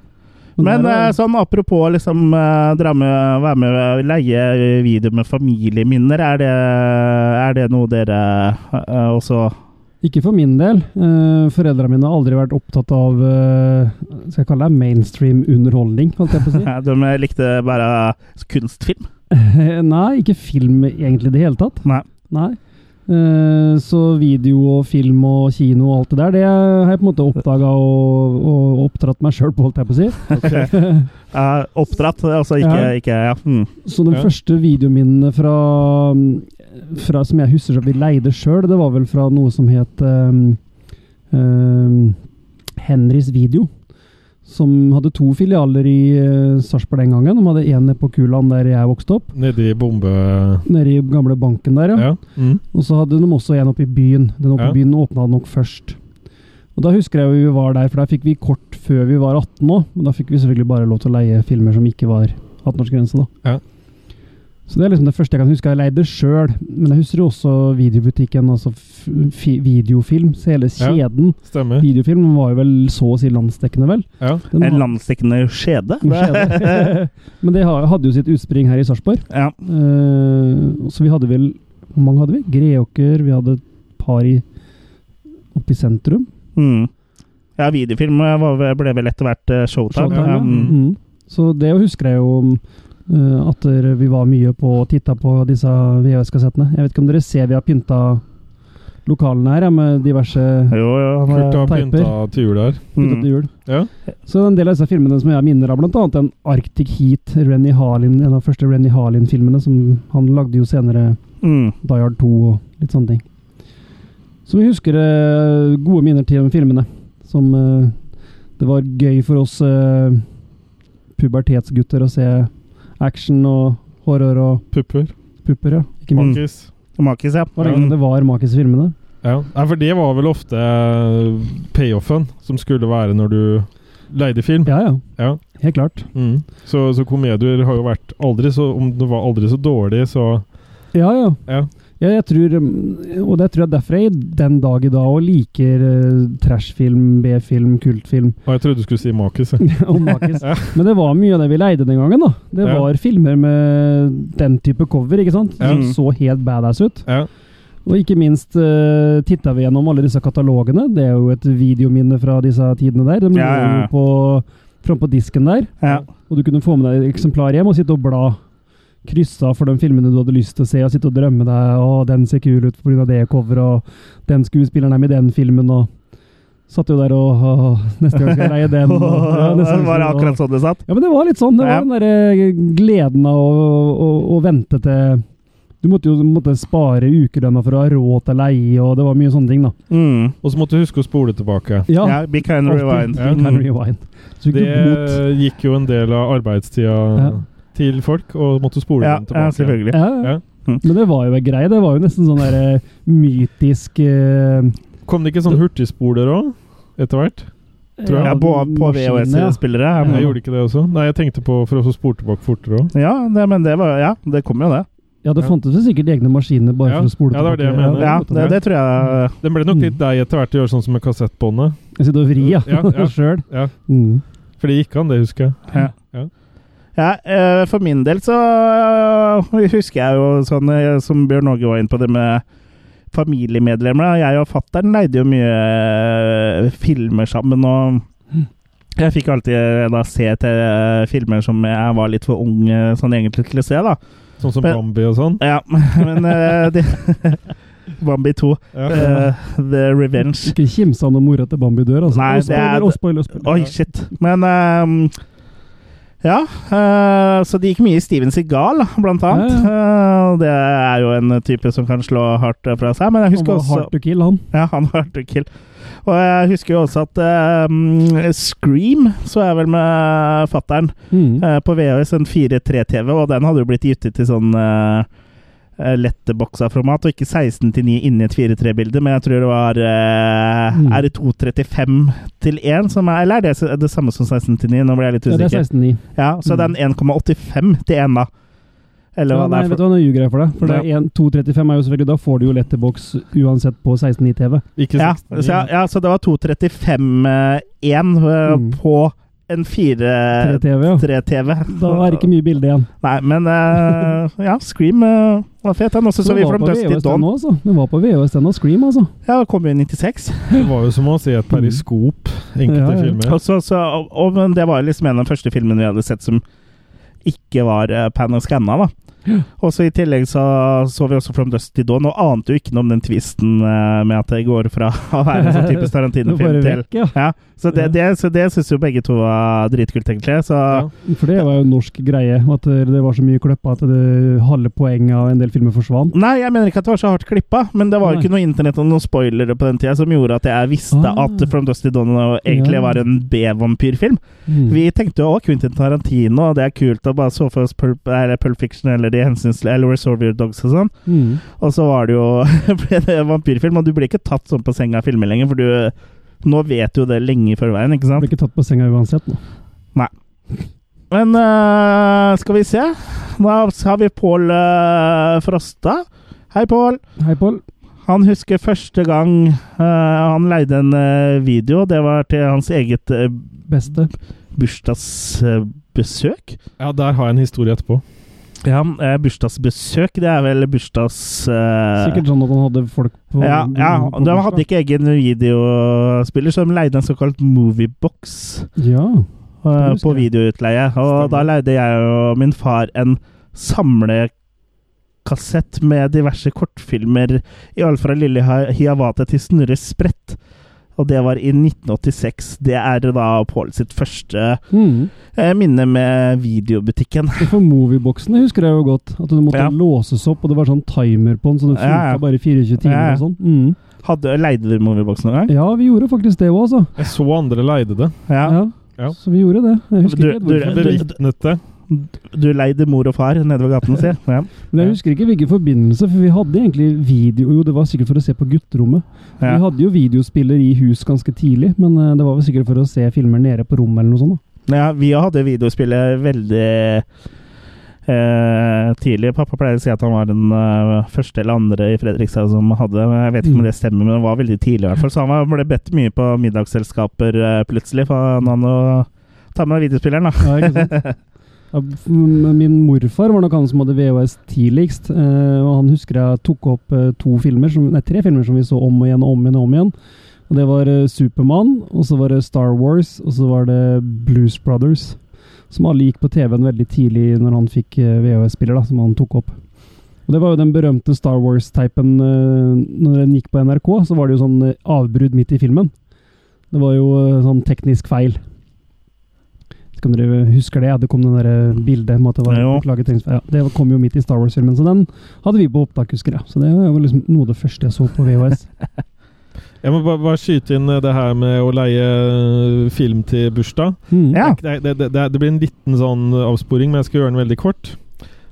Speaker 1: Men
Speaker 3: der
Speaker 1: eh,
Speaker 3: er,
Speaker 1: sånn apropos liksom eh, dra med, være med og leie video med familieminner, er det, er det noe dere eh, også
Speaker 3: ikke for min del. Uh, Foreldra mine har aldri vært opptatt av eh, skal jeg kalle det mainstream underholdning, holdt jeg på å si.
Speaker 1: Ja, De likte bare kunstfilm.
Speaker 3: Nei, ikke film egentlig i det hele tatt.
Speaker 1: Nei.
Speaker 3: Nei. Eh, så video og film og kino og alt det der, det har jeg på en måte oppdaga og, og oppdratt meg sjøl på, holdt jeg på å si.
Speaker 1: Eh, oppdratt, altså ikke
Speaker 3: Ja.
Speaker 1: Ja. Ikke, ja. Mm.
Speaker 3: Så de
Speaker 2: Ja.
Speaker 3: første videominnene fra, mm, fra Som jeg husker at vi leide sjøl, det var vel fra noe som het ehm, ehm, Henrys Video. Som hadde to filialer i uh, Sarpsborg den gangen. De hadde én nede på Kulan, der jeg vokste opp.
Speaker 2: Nedi bombe...
Speaker 3: Nede i gamle banken der, ja.
Speaker 2: Ja. Mm.
Speaker 3: Og så hadde de også en oppe i byen. Den oppe
Speaker 2: Ja.
Speaker 3: i byen åpna nok først. Og Da husker jeg jo vi var der, for der fikk vi kort før vi var 18 òg. Men da fikk vi selvfølgelig bare lov til å leie filmer som ikke var 18-årsgrense, da.
Speaker 2: Ja.
Speaker 3: Så det er liksom det første jeg kan huske. Jeg leide sjøl, men jeg husker jo også videobutikken, altså f fi videofilm. Så hele kjeden
Speaker 2: Stemmer.
Speaker 3: videofilm var jo vel så å si landsdekkende, vel?
Speaker 2: Ja.
Speaker 3: Den
Speaker 1: En
Speaker 3: har-
Speaker 1: landsdekkende skjede.
Speaker 3: skjede. men det har- hadde jo sitt utspring her i Sarpsborg.
Speaker 1: ja.
Speaker 3: Eh, så vi hadde vel Hvor mange hadde vi? Greåker. Vi hadde et par i, oppe i sentrum.
Speaker 1: Mm. ja, videofilm eh, var, vel- ble vel etter hvert eh, showtime.
Speaker 3: Showtime,
Speaker 1: ja.
Speaker 3: ja.
Speaker 1: Mm.
Speaker 3: Mm. Så det husker jeg jo eh, at dere- vi var mye på og titta på disse VHS-kassettene. Jeg vet ikke om dere ser vi har pynta lokalene her ja, med diverse
Speaker 1: Jo, jo, han,
Speaker 2: Kult å ha
Speaker 1: eh,
Speaker 3: Teiper.
Speaker 2: pynta til jul her.
Speaker 3: pynta til
Speaker 1: mm.
Speaker 3: jul.
Speaker 2: Ja.
Speaker 3: Så en del av disse filmene som jeg har minner av, bl.a. den Arctic Heat, Rennie Harlin, en av de første Rennie Harlin-filmene som han lagde jo senere
Speaker 1: Mm.
Speaker 3: Die Hard 2 og litt sånne ting. Så vi husker eh, gode minner til de filmene. Som eh, det var gøy for oss eh, pubertetsgutter å se action og horror og
Speaker 2: Pupper.
Speaker 3: pupper, ja. Ikke minst.
Speaker 2: Makis.
Speaker 1: Makis, ja. Hmm.
Speaker 3: Var det egentlig det var makis i filmene?
Speaker 2: Ja. Nei, for det var vel ofte eh, payoffen som skulle være når du leide film.
Speaker 3: Ja, ja.
Speaker 2: Ja.
Speaker 3: Helt klart.
Speaker 2: Mm. Så, så komedier har jo vært aldri så Om det var aldri så dårlig, så
Speaker 3: Ja, ja.
Speaker 2: Ja.
Speaker 3: Ja, jeg tror, mm, og det tror jeg derfor jeg den dag i dag også liker eh, trashfilm, B-film, kultfilm
Speaker 2: Og jeg trodde du skulle si Makis. jeg.
Speaker 3: og makis.
Speaker 2: Ja.
Speaker 3: Men det var mye av det vi leide den gangen. da. Det
Speaker 2: Ja.
Speaker 3: var filmer med den type cover, ikke sant?
Speaker 2: Ja.
Speaker 3: som så helt badass ut.
Speaker 2: Ja.
Speaker 3: Og ikke minst uh, titta vi gjennom alle disse katalogene. Det er jo et videominne fra disse tidene der. De lå
Speaker 1: Ja, ja, ja.
Speaker 3: jo på, fram på disken der,
Speaker 1: Ja.
Speaker 3: og du kunne få med deg et eksemplar hjem og sitte og bla. Kryssa for de filmene du hadde lyst til å se, og sitte og drømme deg å, den ser kul ut pga. det coveret, og den skuespilleren er med i den filmen, og Satt jo der og «Åh, Neste gang skal jeg leie den. Ja, neste gang
Speaker 1: det var
Speaker 3: skal jeg-
Speaker 1: akkurat sånn det satt.
Speaker 3: Ja, men det var litt sånn. Det var
Speaker 1: Ja.
Speaker 3: den derre gleden av å, å, å vente til Du måtte jo du måtte spare ukelønna for å ha råd til leie, og det var mye sånne ting, da.
Speaker 1: Mm.
Speaker 2: Og så måtte du huske å spole tilbake.
Speaker 3: Ja,
Speaker 1: Ja, Be kind
Speaker 3: alltid.
Speaker 1: rewind. Hmm.
Speaker 3: Ja, Can rewind. Så gikk
Speaker 2: Det
Speaker 3: det bot.
Speaker 2: gikk jo en del av arbeidstida
Speaker 3: Ja.
Speaker 2: til folk, og måtte spole
Speaker 1: Ja, ja,
Speaker 2: den tilbake.
Speaker 1: selvfølgelig.
Speaker 3: Ja.
Speaker 2: Ja. Hm.
Speaker 3: Men det var jo en greie. Det var jo nesten sånn der eh, mytisk eh,
Speaker 2: Kom det ikke sånn hurtigspoler òg? Etter hvert? Tror jeg.
Speaker 1: Ja, på, på
Speaker 3: maskin, ja.
Speaker 1: VHS-spillere.
Speaker 2: Jeg
Speaker 1: Ja.
Speaker 2: gjorde ikke det også. Nei, jeg tenkte på for å spole tilbake fortere òg.
Speaker 1: Ja, det, men det var Ja, det kom jo, det.
Speaker 3: Ja, det fantes vel sikkert egne maskiner bare
Speaker 2: Ja.
Speaker 3: for å spole
Speaker 2: Ja, det var det jeg
Speaker 3: tilbake.
Speaker 2: mener.
Speaker 1: Ja, det, det tror jeg
Speaker 2: Den ble nok litt deg etter hvert å gjøre sånn som med kassettbåndet.
Speaker 3: Jeg sitter og vrir, ja.
Speaker 2: Ja, ja.
Speaker 3: Sjøl.
Speaker 2: Ja,
Speaker 3: Mm.
Speaker 2: for det gikk an, det husker jeg.
Speaker 1: Ja, eh, for min del så eh, husker jeg jo sånn eh, som Bjørn Åge var inne på det med familiemedlemmer. da. Jeg og fattern leide jo mye eh, filmer sammen, og jeg fikk alltid eh, da se til eh, filmer som jeg var litt for ung eh, sånn egentlig til å se, da.
Speaker 2: Sånn som
Speaker 1: Men-
Speaker 2: Bambi og sånn.
Speaker 1: Ja, men eh, det Bambi 2,
Speaker 2: Ja.
Speaker 1: eh, The Revenge.
Speaker 3: Ikke kimse av når mora til Bambi dør, altså.
Speaker 1: Nei,
Speaker 3: Og
Speaker 1: det er-
Speaker 3: spoiler, og spoiler, og spoiler.
Speaker 1: Oi, shit. Men ehm, Ja. eh, så det gikk mye i Steven Seagal, blant annet.
Speaker 3: Ja,
Speaker 1: Eh, det er jo en type som kan slå hardt fra seg, men jeg
Speaker 3: Han
Speaker 1: husker
Speaker 3: var
Speaker 1: også
Speaker 3: hard to kill, han.
Speaker 1: Ja, han var hardt å kill. Og jeg husker jo også at ehm, Scream så jeg vel med fattern
Speaker 3: Mm.
Speaker 1: eh, på VHS, en 4-3-TV, og den hadde jo blitt gitt ut i sånn uh, Letteboksa-format, og ikke 16 til 9 inni et 4-3-bilde, men jeg tror det var eh,
Speaker 3: Mm.
Speaker 1: Er det 2.35 til 1 som er Eller er det s- det samme som 16 til 9? Nå ble jeg litt
Speaker 3: Ja, det er
Speaker 1: usikker.
Speaker 3: 16,9.
Speaker 1: Ja, så det er en 1,85 til 1, da. Eller
Speaker 3: Ja,
Speaker 1: hva
Speaker 3: nei,
Speaker 1: det
Speaker 3: eh, vet
Speaker 1: er
Speaker 3: du
Speaker 1: for
Speaker 3: hva, nå ljuger jeg for deg. For det er 1, 2,35 er jo selvfølgelig Da får du jo letterbox uansett på 16,9 TV.
Speaker 1: Eh,
Speaker 2: Ikke
Speaker 1: ja,
Speaker 2: 69.
Speaker 1: så, ja, så det var 2.35-1
Speaker 3: Mm.
Speaker 1: eh, på en
Speaker 3: 3 TV, ja.
Speaker 1: 4-3-TV.
Speaker 3: Da er det ikke mye bilde igjen.
Speaker 1: Nei, men eh, ja, Scream eh, var fet. Den også så, vi
Speaker 3: den var
Speaker 1: From
Speaker 3: på
Speaker 1: Dust til
Speaker 3: VHS
Speaker 1: Dawn.
Speaker 3: den også. Den var på VHS den og Scream, altså.
Speaker 1: Ja, kom jo inn i 96.
Speaker 2: Det var jo som å se et periskop, enkelte
Speaker 3: Ja, ja.
Speaker 2: filmer.
Speaker 1: Og så, så, og, og, men det var jo liksom en av de første filmene vi hadde sett som ikke var eh, pan og scanna, da. Og så i tillegg så så vi også From Dust til Dawn, og ante jo ikke noe om den tvisten eh, med at det går fra å være en sånn typisk
Speaker 3: Det var
Speaker 1: Tarantino-film
Speaker 3: bare
Speaker 1: til
Speaker 3: vekk, ja.
Speaker 1: ja, Så det, det, så det syns jo begge to var dritkult, egentlig. Så
Speaker 2: Ja.
Speaker 3: For det var jo en norsk greie. At eh, det var så mye kløppa at det halve poenget av en del filmer forsvant.
Speaker 1: Nei, jeg mener ikke at det var så hardt klippa, men det var jo
Speaker 3: Nei.
Speaker 1: ikke noe internett og noen spoilere på den tida som gjorde at jeg visste
Speaker 3: Ah.
Speaker 1: at From Dusty Dawn egentlig
Speaker 3: Ja.
Speaker 1: var en B-vampyrfilm.
Speaker 3: Mm.
Speaker 1: Vi tenkte jo òg Quentin Tarantino, og det er kult å bare så for oss Pulp, eller Pulp Fiction eller de hensynsløse eller Resolve Your Dogs og sånn,
Speaker 3: Mm.
Speaker 1: og så var det jo ble det vampyrfilm, og du blir ikke tatt sånn på senga av filmer lenger, for du nå vet du jo det lenge i forveien, ikke sant?
Speaker 3: Ble ikke tatt på senga uansett nå.
Speaker 1: Men øh, skal vi se. Da har vi Pål øh, Frosta. Hei, Pål.
Speaker 3: Hei, Pål.
Speaker 1: Han husker første gang eh, han leide en eh, video. Det var til hans eget eh,
Speaker 3: Beste.
Speaker 1: bursdagsbesøk.
Speaker 2: ja, der har jeg en historie etterpå.
Speaker 1: Ja, eh, bursdagsbesøk, det er vel bursdags... eh,
Speaker 3: Sikkert sånn at han hadde folk på
Speaker 1: Ja, ja,
Speaker 3: på
Speaker 1: de
Speaker 3: bursdag.
Speaker 1: hadde ikke egen videospiller, så de leide en såkalt moviebox
Speaker 3: Ja.
Speaker 1: eh,
Speaker 3: husker
Speaker 1: på
Speaker 3: jeg.
Speaker 1: videoutleie. Og
Speaker 2: Stemmer.
Speaker 1: da leide jeg og min far en samlekassett med diverse kortfilmer, i alle fra Lille Hi- Hiawatha til Snurre Sprett. Og det var i 1986. Det er da Pål sitt første
Speaker 3: Mm.
Speaker 1: eh, minne med videobutikken.
Speaker 3: For movieboksene husker jeg jo godt. At du måtte
Speaker 1: Ja.
Speaker 3: låses opp, og det var sånn timer på den, så den funka
Speaker 1: Ja, ja.
Speaker 3: bare 24 timer
Speaker 1: Ja, ja.
Speaker 3: og sånn. Mm.
Speaker 1: Hadde, leide du Moviebox noen gang?
Speaker 3: Ja, vi gjorde faktisk det òg, altså.
Speaker 2: Jeg så andre leide det.
Speaker 1: Ja.
Speaker 3: Ja.
Speaker 2: Ja.
Speaker 3: Så vi gjorde det. Jeg husker,
Speaker 1: Du-
Speaker 3: ikke helt
Speaker 1: du-
Speaker 3: hvorfor.
Speaker 2: Bevitnet det.
Speaker 1: Du leide mor og far nede ved gaten, si. Ja.
Speaker 3: Men jeg husker ikke hvilken forbindelse, for vi hadde egentlig video Jo, det var sikkert for å se på gutterommet.
Speaker 1: Ja.
Speaker 3: Vi hadde jo videospiller i hus ganske tidlig, men eh, det var vel sikkert for å se filmer nede på rommet eller noe sånt. da.
Speaker 1: Ja, vi hadde videospillet veldig eh, tidlig. Pappa pleier å si at han var den eh, første eller andre i Fredrikstad som hadde men Jeg
Speaker 2: Mm.
Speaker 1: vet ikke om det stemmer, men det var veldig tidlig i hvert fall. Så han var- ble bedt mye på middagsselskaper eh, plutselig, for han hadde å ta med videospilleren, da.
Speaker 3: Ja, ikke sant? Ja, f- men min morfar var nok han som hadde VHS tidligst, eh, og han husker jeg tok opp eh, to filmer, som, nei, tre filmer som vi så om og igjen og om igjen. Og om igjen. Og det var eh, Supermann, og så var det Star Wars, og så var det Blues Brothers. Som alle gikk på TV-en veldig tidlig når han fikk eh, VHS-spiller, da, som han tok opp. Og Det var jo den berømte Star Wars-typen. eh, Når den gikk på NRK, så var det jo sånn eh, avbrudd midt i filmen. Det var jo eh, sånn teknisk feil. Vet ikke om dere husker det? Ja, det kom det der eh, bildet med at det var
Speaker 1: Jo.
Speaker 3: laget teknisk feil. Ja, det kom jo midt i Star Wars-filmen, så den hadde vi på opptak, husker jeg. Så det var liksom noe av det første jeg så på VHS.
Speaker 2: Jeg må bare, bare skyte inn eh, det her med å leie eh, film til bursdag.
Speaker 3: Mm.
Speaker 1: Ja.
Speaker 2: Det, det, det, det blir en liten sånn avsporing, men jeg skal gjøre den veldig kort.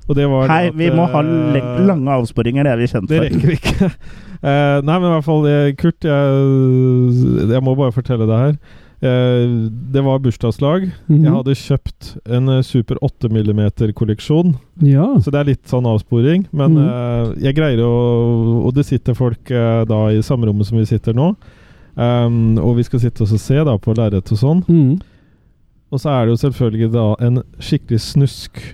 Speaker 2: Og det var
Speaker 1: Hei,
Speaker 2: at,
Speaker 1: vi må ha
Speaker 2: eh,
Speaker 1: le- lange avsporinger, det er vi kjent
Speaker 2: Det
Speaker 1: for.
Speaker 2: rekker vi ikke. Eh, nei, men i hvert fall, eh, Kurt, eh, jeg, jeg må bare fortelle deg her. Eh, det var bursdagslag.
Speaker 3: Mhm.
Speaker 2: Jeg hadde kjøpt en eh, Super 8 mm-kolleksjon.
Speaker 3: ja.
Speaker 2: Så det er litt sånn avsporing. Men
Speaker 3: Mm.
Speaker 2: eh, jeg greier å Og det sitter folk eh, da i samme rommet som vi sitter nå. Ehm, og vi skal sitte og så se da på lerret og sånn.
Speaker 3: Mm.
Speaker 2: Og så er det jo selvfølgelig da en skikkelig snusk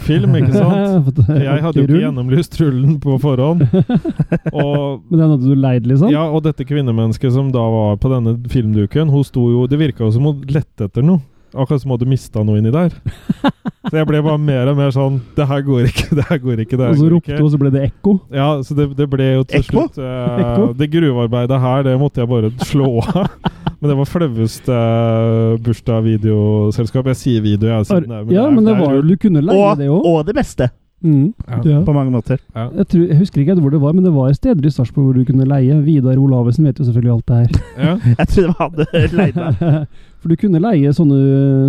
Speaker 2: film, ikke sant? Jeg hadde jo ikke gjennomlyst rullen på forhånd. Og
Speaker 3: Men den hadde du leid, liksom?
Speaker 2: ja, og dette kvinnemennesket som da var på denne filmduken, hun sto jo Det virka jo som hun lette etter noe. Akkurat som hun hadde mista noe inni der. Så jeg ble bare mer og mer sånn Det her går ikke, det her går ikke. det her
Speaker 3: og så
Speaker 2: går
Speaker 3: ropte
Speaker 2: ikke.
Speaker 3: du, og så ble det ekko?
Speaker 2: Ja, så det, det ble jo til
Speaker 1: Ekko?
Speaker 2: slutt eh,
Speaker 3: Ekko?
Speaker 2: Det gruvearbeidet her, det måtte jeg bare slå av. Men det var flaueste eh, bursdag-videoselskap. Jeg sier video, jeg. Siden, det er- det
Speaker 3: ja,
Speaker 2: er-
Speaker 3: men det
Speaker 2: er
Speaker 3: var jo
Speaker 2: rull.
Speaker 3: Du kunne leie
Speaker 1: Og,
Speaker 3: det òg.
Speaker 1: og det beste,
Speaker 3: Mm.
Speaker 2: Ja.
Speaker 3: Ja.
Speaker 1: på mange måter.
Speaker 3: Jeg, tror, jeg husker ikke hvor det var, men det var steder i Sarpsborg hvor du kunne leie. Vidar Olavesen vet jo selvfølgelig alt det her.
Speaker 2: Ja.
Speaker 1: Jeg trodde vi hadde leid deg.
Speaker 3: For du kunne leie sånne,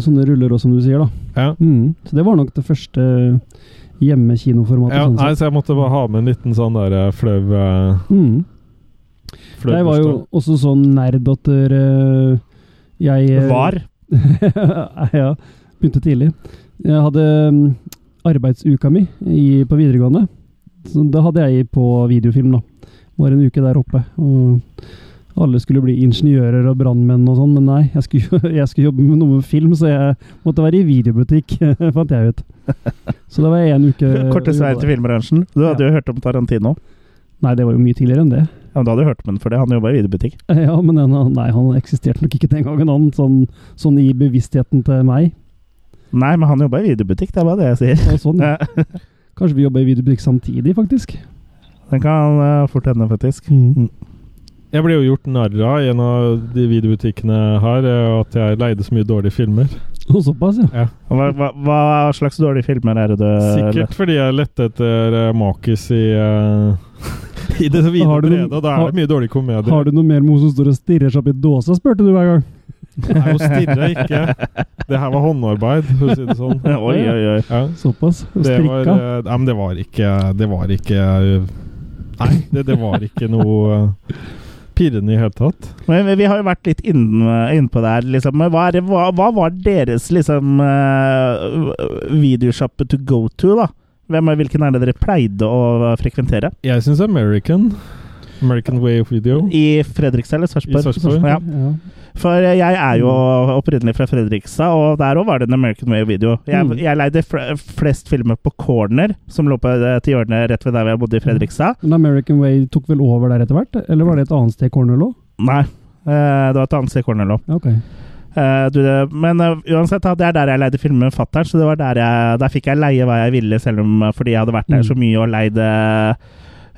Speaker 3: sånne ruller òg, som du sier, da.
Speaker 2: Ja.
Speaker 3: Mm. Så det var nok det første hjemmekinoformatet.
Speaker 2: Ja,
Speaker 3: sånn
Speaker 2: nei,
Speaker 3: sett.
Speaker 2: så jeg måtte bare ha med en liten sånn der eh, flau eh,
Speaker 3: Mm.
Speaker 2: flau
Speaker 3: Jeg var jo
Speaker 2: bursdag.
Speaker 3: også sånn nerd at eh, jeg eh,
Speaker 1: Var.
Speaker 3: ja, begynte tidlig. Jeg hadde mm, arbeidsuka mi i, på videregående. Så da hadde jeg på videofilm, da. Var en uke der oppe. Og alle skulle bli ingeniører og brannmenn og sånn, men nei. Jeg skulle, jeg skulle jobbe med noe med film, så jeg måtte være i videobutikk, fant jeg ut. Så da var jeg en uke
Speaker 1: Korteste veien til filmbransjen. Du hadde jo hørt om Tarantino.
Speaker 3: Nei, det var jo mye tidligere enn det.
Speaker 1: Ja, men du hadde hørt om den for det, han jobba i videobutikk.
Speaker 3: Ja, men han, nei, han eksisterte nok ikke den gangen, han. Sånn, sånn i bevisstheten til meg.
Speaker 1: Nei, men han jobba i videobutikk, det er bare det jeg sier.
Speaker 3: Og
Speaker 2: Mm.
Speaker 3: sånn,
Speaker 1: Ja,
Speaker 3: Kanskje vi jobber i videobutikk samtidig, faktisk.
Speaker 1: Den kan eh, fort hende, faktisk.
Speaker 2: Jeg ble jo gjort narr av i en av de videobutikkene her, eh, at jeg leide så mye dårlige filmer.
Speaker 3: Og såpass, ja.
Speaker 1: Hva, hva, hva slags dårlige filmer er det
Speaker 3: Eh,
Speaker 1: du
Speaker 2: Sikkert fordi jeg lette etter eh, makis i eh, I det vide
Speaker 3: Har du noen-
Speaker 2: brede, og da er
Speaker 3: har-
Speaker 2: det mye dårlige komedier.
Speaker 3: Har du noe mer med hun som står og stirrer seg opp i dåsa, spurte du hver gang.
Speaker 2: Nei, hun stirra ikke. Det her var håndarbeid, for å si det sånn.
Speaker 1: Oi, oi, oi.
Speaker 2: Ja.
Speaker 3: Såpass. Og
Speaker 2: Det var,
Speaker 3: strikka.
Speaker 2: eh, nei, men det var ikke Det var ikke eh, Nei, det, det var ikke noe eh, pirrende i hele tatt.
Speaker 1: Men vi- vi har jo vært litt inne inn på det her, liksom. Men Hva, er, det- hva, hva var deres liksom eh, videosjappe to go to, da? Hvem er, hvilken er det dere pleide å frekventere?
Speaker 2: Jeg syns American American Way of Video
Speaker 1: I Fredrikstad eller
Speaker 2: I
Speaker 1: Sarpsborg?
Speaker 2: Sarpsborg.
Speaker 1: Ja.
Speaker 3: Ja.
Speaker 1: For eh, jeg er jo opprinnelig fra Fredrikstad, og der òg var det en American Way of Video. Jeg,
Speaker 3: Mm.
Speaker 1: jeg leide fl flest filmer på Corner, som lå på et hjørne rett ved der hvor jeg bodde i Fredrikstad.
Speaker 3: Men American Way tok vel over der etter hvert? Eller var det et annet sted Cornell òg?
Speaker 1: Nei, eh, det var et annet sted Corner lå.
Speaker 3: Ja, ok.
Speaker 1: Eh, du, det- Men eh, uansett, da, det er der jeg leide filmer med fatter'n, så det var der, jeg, der fikk jeg leie hva jeg ville, selv om eh, fordi jeg hadde vært der
Speaker 3: Mm.
Speaker 1: så mye og leid eh,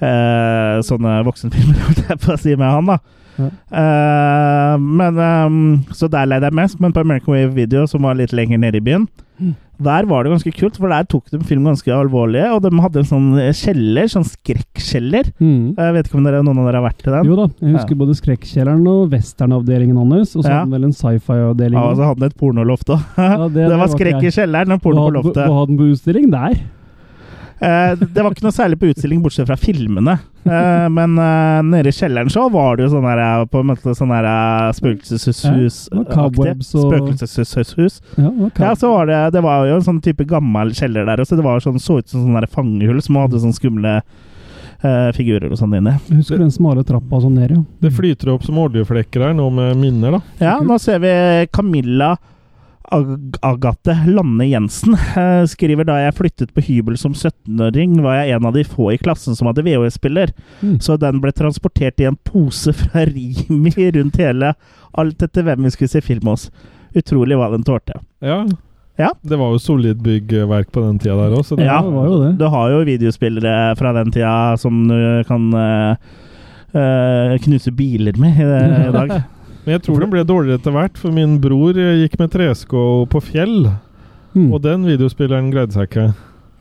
Speaker 1: eh, sånne voksenfilmer, holdt jeg på å si, med han, da.
Speaker 3: Ja.
Speaker 1: Eh, men ehm, Så der leide jeg mest, men på American Wave Video, som var litt lenger nede i byen,
Speaker 3: Mm.
Speaker 1: der var det ganske kult, for der tok de film ganske alvorlig, og de hadde en sånn eh, kjeller, sånn skrekkjeller.
Speaker 3: Mm.
Speaker 1: Jeg vet ikke om dere, noen av dere har vært i den?
Speaker 3: Jo da, jeg husker både Skrekkjelleren og westernavdelingen hans. Og så
Speaker 1: Ja.
Speaker 3: hadde han vel en sci-fi-avdeling.
Speaker 1: Ja, og så hadde de et pornoloft òg.
Speaker 3: Ja, det-
Speaker 1: det,
Speaker 3: det var
Speaker 1: var skrekk
Speaker 3: ikke
Speaker 1: i kjelleren og porno på loftet.
Speaker 3: Hva hadde han på utstilling der?
Speaker 1: Eh, det var ikke noe særlig på utstilling, bortsett fra filmene. Eh, men eh, nede i kjelleren så var det jo sånn her eh, på en måte sånn her eh, spøkelseshus
Speaker 3: Ja, det var cobwebs og-
Speaker 1: Spøkelseshus.
Speaker 3: Ja, ok.
Speaker 1: Ja, så var det Det var jo en sånn type gammel kjeller der også. Det var sånn, så ut som sånn her fangehull som hadde sånne skumle eh, figurer og sånn inni.
Speaker 3: Jeg husker den smale trappa sånn ned, ja.
Speaker 2: Det flyter opp som oljeflekker her nå med minner, da.
Speaker 1: Ja, nå ser vi Camilla Ag Agathe Lanne Jensen eh, skriver da jeg flyttet på hybel som 17-åring, var jeg en av de få i klassen som hadde VHS-spiller.
Speaker 3: Mm.
Speaker 1: Så den ble transportert i en pose fra Rimi rundt hele, alt etter hvem vi skulle se film hos. Utrolig hva den tålte.
Speaker 2: Ja.
Speaker 1: Ja.
Speaker 2: Det var jo solid byggverk på den tida der òg, så det
Speaker 1: Ja.
Speaker 3: det var jo det.
Speaker 1: Du har jo videospillere fra den tida som du kan eh, eh, knuse biler med i, i dag.
Speaker 2: Men jeg tror den ble dårligere etter hvert, for min bror eh, gikk med tresko på fjell,
Speaker 3: Mm.
Speaker 2: og den videospilleren greide seg ikke.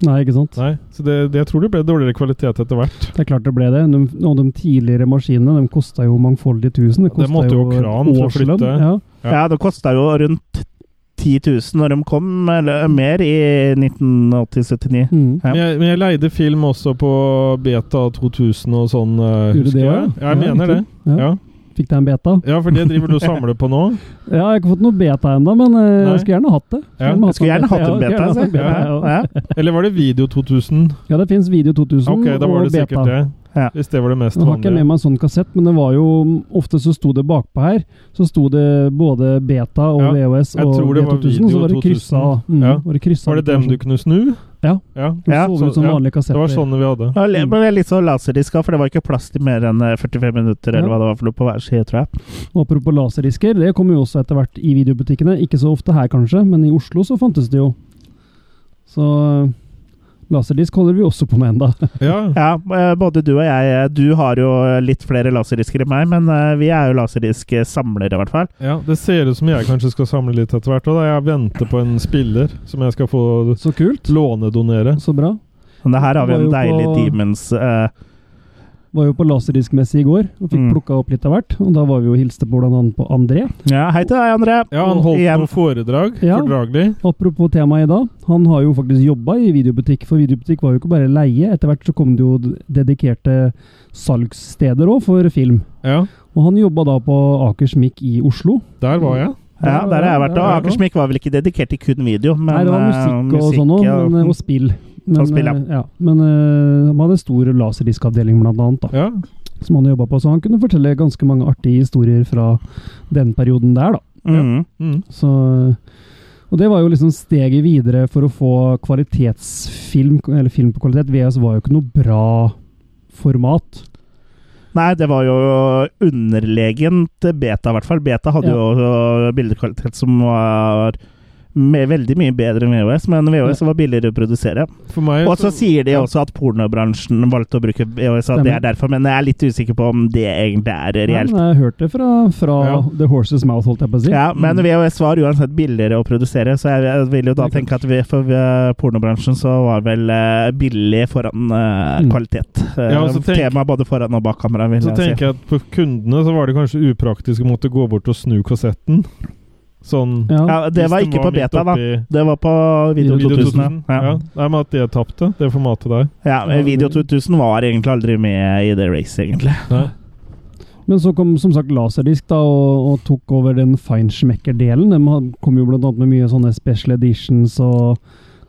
Speaker 3: Nei, ikke sant?
Speaker 2: Nei, så det, det, jeg tror det ble dårligere kvalitet etter hvert.
Speaker 3: Det er klart det ble det. De, og de tidligere maskinene de kosta jo mangfoldige tusen. Det
Speaker 2: Det
Speaker 3: kostet
Speaker 2: måtte jo kran for å
Speaker 3: årslønn.
Speaker 2: flytte.
Speaker 3: Ja.
Speaker 2: Ja.
Speaker 1: Ja, det kosta jo rundt 10 000 når de kom, eller mer, i 1980-79.
Speaker 3: Mm.
Speaker 1: Ja.
Speaker 2: Men jeg, men jeg leide film også på Beta 2000 og sånn, eh,
Speaker 3: Gjorde
Speaker 2: husker jeg.
Speaker 3: det, ja?
Speaker 2: Jeg
Speaker 3: Ja,
Speaker 2: mener det.
Speaker 3: riktig. Ja.
Speaker 2: Ja.
Speaker 3: Fikk deg en beta?
Speaker 2: ja, for det driver du og samler på nå?
Speaker 3: Ja, jeg har ikke fått noe beta ennå, men eh,
Speaker 2: Nei.
Speaker 3: jeg skulle gjerne hatt det.
Speaker 2: Ja.
Speaker 3: Skulle
Speaker 1: Jeg skulle gjerne hatt en
Speaker 3: Ja,
Speaker 1: beta.
Speaker 3: skulle gjerne hatt en
Speaker 1: altså.
Speaker 3: beta, ja.
Speaker 1: Ja,
Speaker 2: Eller var det Video 2000?
Speaker 3: Ja, det fins Video 2000
Speaker 2: Ok, da var
Speaker 3: og
Speaker 2: det sikkert
Speaker 3: beta.
Speaker 2: det.
Speaker 1: Ja.
Speaker 2: Hvis det var det mest
Speaker 3: Nå har ikke jeg med
Speaker 2: vanlige.
Speaker 3: meg en sånn kassett, men det var jo Ofte så sto det bakpå her. Så sto det både beta og
Speaker 2: Ja,
Speaker 3: VHS
Speaker 2: jeg
Speaker 3: og
Speaker 2: tror det var
Speaker 3: V2000, så var det
Speaker 2: Video 2000.
Speaker 3: kryssa. Mm,
Speaker 2: Ja.
Speaker 3: var det kryssa
Speaker 2: Var det dem du kunne snu?
Speaker 3: Ja.
Speaker 2: ja.
Speaker 3: De
Speaker 1: Ja,
Speaker 3: så ut
Speaker 2: så-
Speaker 3: som
Speaker 2: ja.
Speaker 3: vanlige
Speaker 2: Det
Speaker 3: kassetter.
Speaker 2: var sånn sånne vi hadde.
Speaker 1: Ja, det ble litt sånn laserdiska, for det var ikke plass til mer enn eh, 45 minutter eller
Speaker 3: Ja.
Speaker 1: hva det var for noe på hver side, tror jeg.
Speaker 3: Og apropos laserdisker, det kom jo også etter hvert i videobutikkene. Ikke så ofte her, kanskje, men i Oslo så fantes det jo. Så eh, laserdisk holder vi også på med enda.
Speaker 2: Ja.
Speaker 1: Ja, eh, både du og jeg eh, Du har jo litt flere laserdisker enn meg, men eh, vi er jo laserdisk-samlere, i hvert fall.
Speaker 2: ja. Det ser ut som jeg kanskje skal samle litt etter hvert. Og da jeg venter på en spiller som jeg skal få
Speaker 3: Så kult.
Speaker 2: lånedonere.
Speaker 3: Så bra.
Speaker 1: Men det her har vi
Speaker 3: Det
Speaker 1: en
Speaker 3: var jo
Speaker 1: deilig
Speaker 3: på-
Speaker 1: Demons eh,
Speaker 3: Var jo på laserdiskmesse i går og fikk
Speaker 1: Mm.
Speaker 3: plukka opp litt av hvert. Og da var vi jo og hilste på blant annet på André.
Speaker 1: Ja, hei til deg, André.
Speaker 2: Ja, han holdt
Speaker 1: Igjen.
Speaker 2: noen foredrag.
Speaker 3: Ja.
Speaker 2: Fordragelig.
Speaker 3: Apropos temaet i dag, han har jo faktisk jobba i videobutikk, for videobutikk var jo ikke bare leie. Etter hvert så kom det jo d- dedikerte salgssteder òg for film.
Speaker 2: Ja.
Speaker 3: Og han jobba da på Akersmikk i Oslo.
Speaker 2: Der var jeg.
Speaker 1: Ja, der har jeg vært. Og
Speaker 3: Der var jeg også.
Speaker 1: Akersmikk var vel ikke dedikert til kun video, men
Speaker 3: Nei, det var musikk,
Speaker 1: eh,
Speaker 3: og sånn òg,
Speaker 1: ja.
Speaker 3: men- og spill. Men,
Speaker 1: Og spill, ja.
Speaker 3: eh, ja. Men eh, han hadde stor laserdiskavdeling, blant annet, da,
Speaker 2: Ja.
Speaker 3: som han jobba på. Så han kunne fortelle ganske mange artige historier fra den perioden der, da.
Speaker 1: Mhm.
Speaker 2: Mm.
Speaker 3: Så, eh, og det var jo liksom steget videre for å få kvalitetsfilm, eller film på kvalitet. VS var jo ikke noe bra format.
Speaker 1: Nei, det var jo underlegen til Beta, i hvert fall. Beta hadde
Speaker 3: Ja.
Speaker 1: jo eh, bildekvalitet som var med veldig mye bedre enn VHS, men VHS var billigere å produsere.
Speaker 2: For meg
Speaker 1: Og altså, så sier de også at pornobransjen valgte å bruke VHS, at det er derfor, men jeg er litt usikker på om det egentlig er
Speaker 3: Ja,
Speaker 1: reelt.
Speaker 3: men jeg hørte det fra, fra
Speaker 2: Ja.
Speaker 3: The Horses Mouth, holdt jeg på å si.
Speaker 1: Ja, Men VHS var uansett billigere å produsere, så jeg, jeg vil jo da
Speaker 3: Det er
Speaker 1: tenke at vi, for eh, pornobransjen så var vel eh, billig foran eh,
Speaker 3: Mm.
Speaker 1: kvalitet. Eh,
Speaker 2: Ja, og så tenk-
Speaker 1: Tema både foran og bak kamera, vil jeg
Speaker 2: Så
Speaker 1: si.
Speaker 2: tenker jeg at på kundene så var det kanskje upraktisk å måtte gå bort og snu kassetten. Sånn
Speaker 3: Ja.
Speaker 1: Ja, det
Speaker 2: hvis
Speaker 1: var
Speaker 2: den
Speaker 1: ikke på
Speaker 2: midt
Speaker 1: Beta, da.
Speaker 2: oppi
Speaker 1: Det var på Video
Speaker 3: Video
Speaker 1: 2000.
Speaker 2: 2000. Ja.
Speaker 1: Ja.
Speaker 2: Nei, men at det tapte, det formatet der.
Speaker 1: Ja, men Video 2000 var egentlig aldri med i det racet, egentlig.
Speaker 2: Nei.
Speaker 3: Men så kom som sagt Laserdisk da, og, og tok over den feinschmecker-delen. De had- kom jo blant annet med mye sånne special editions og,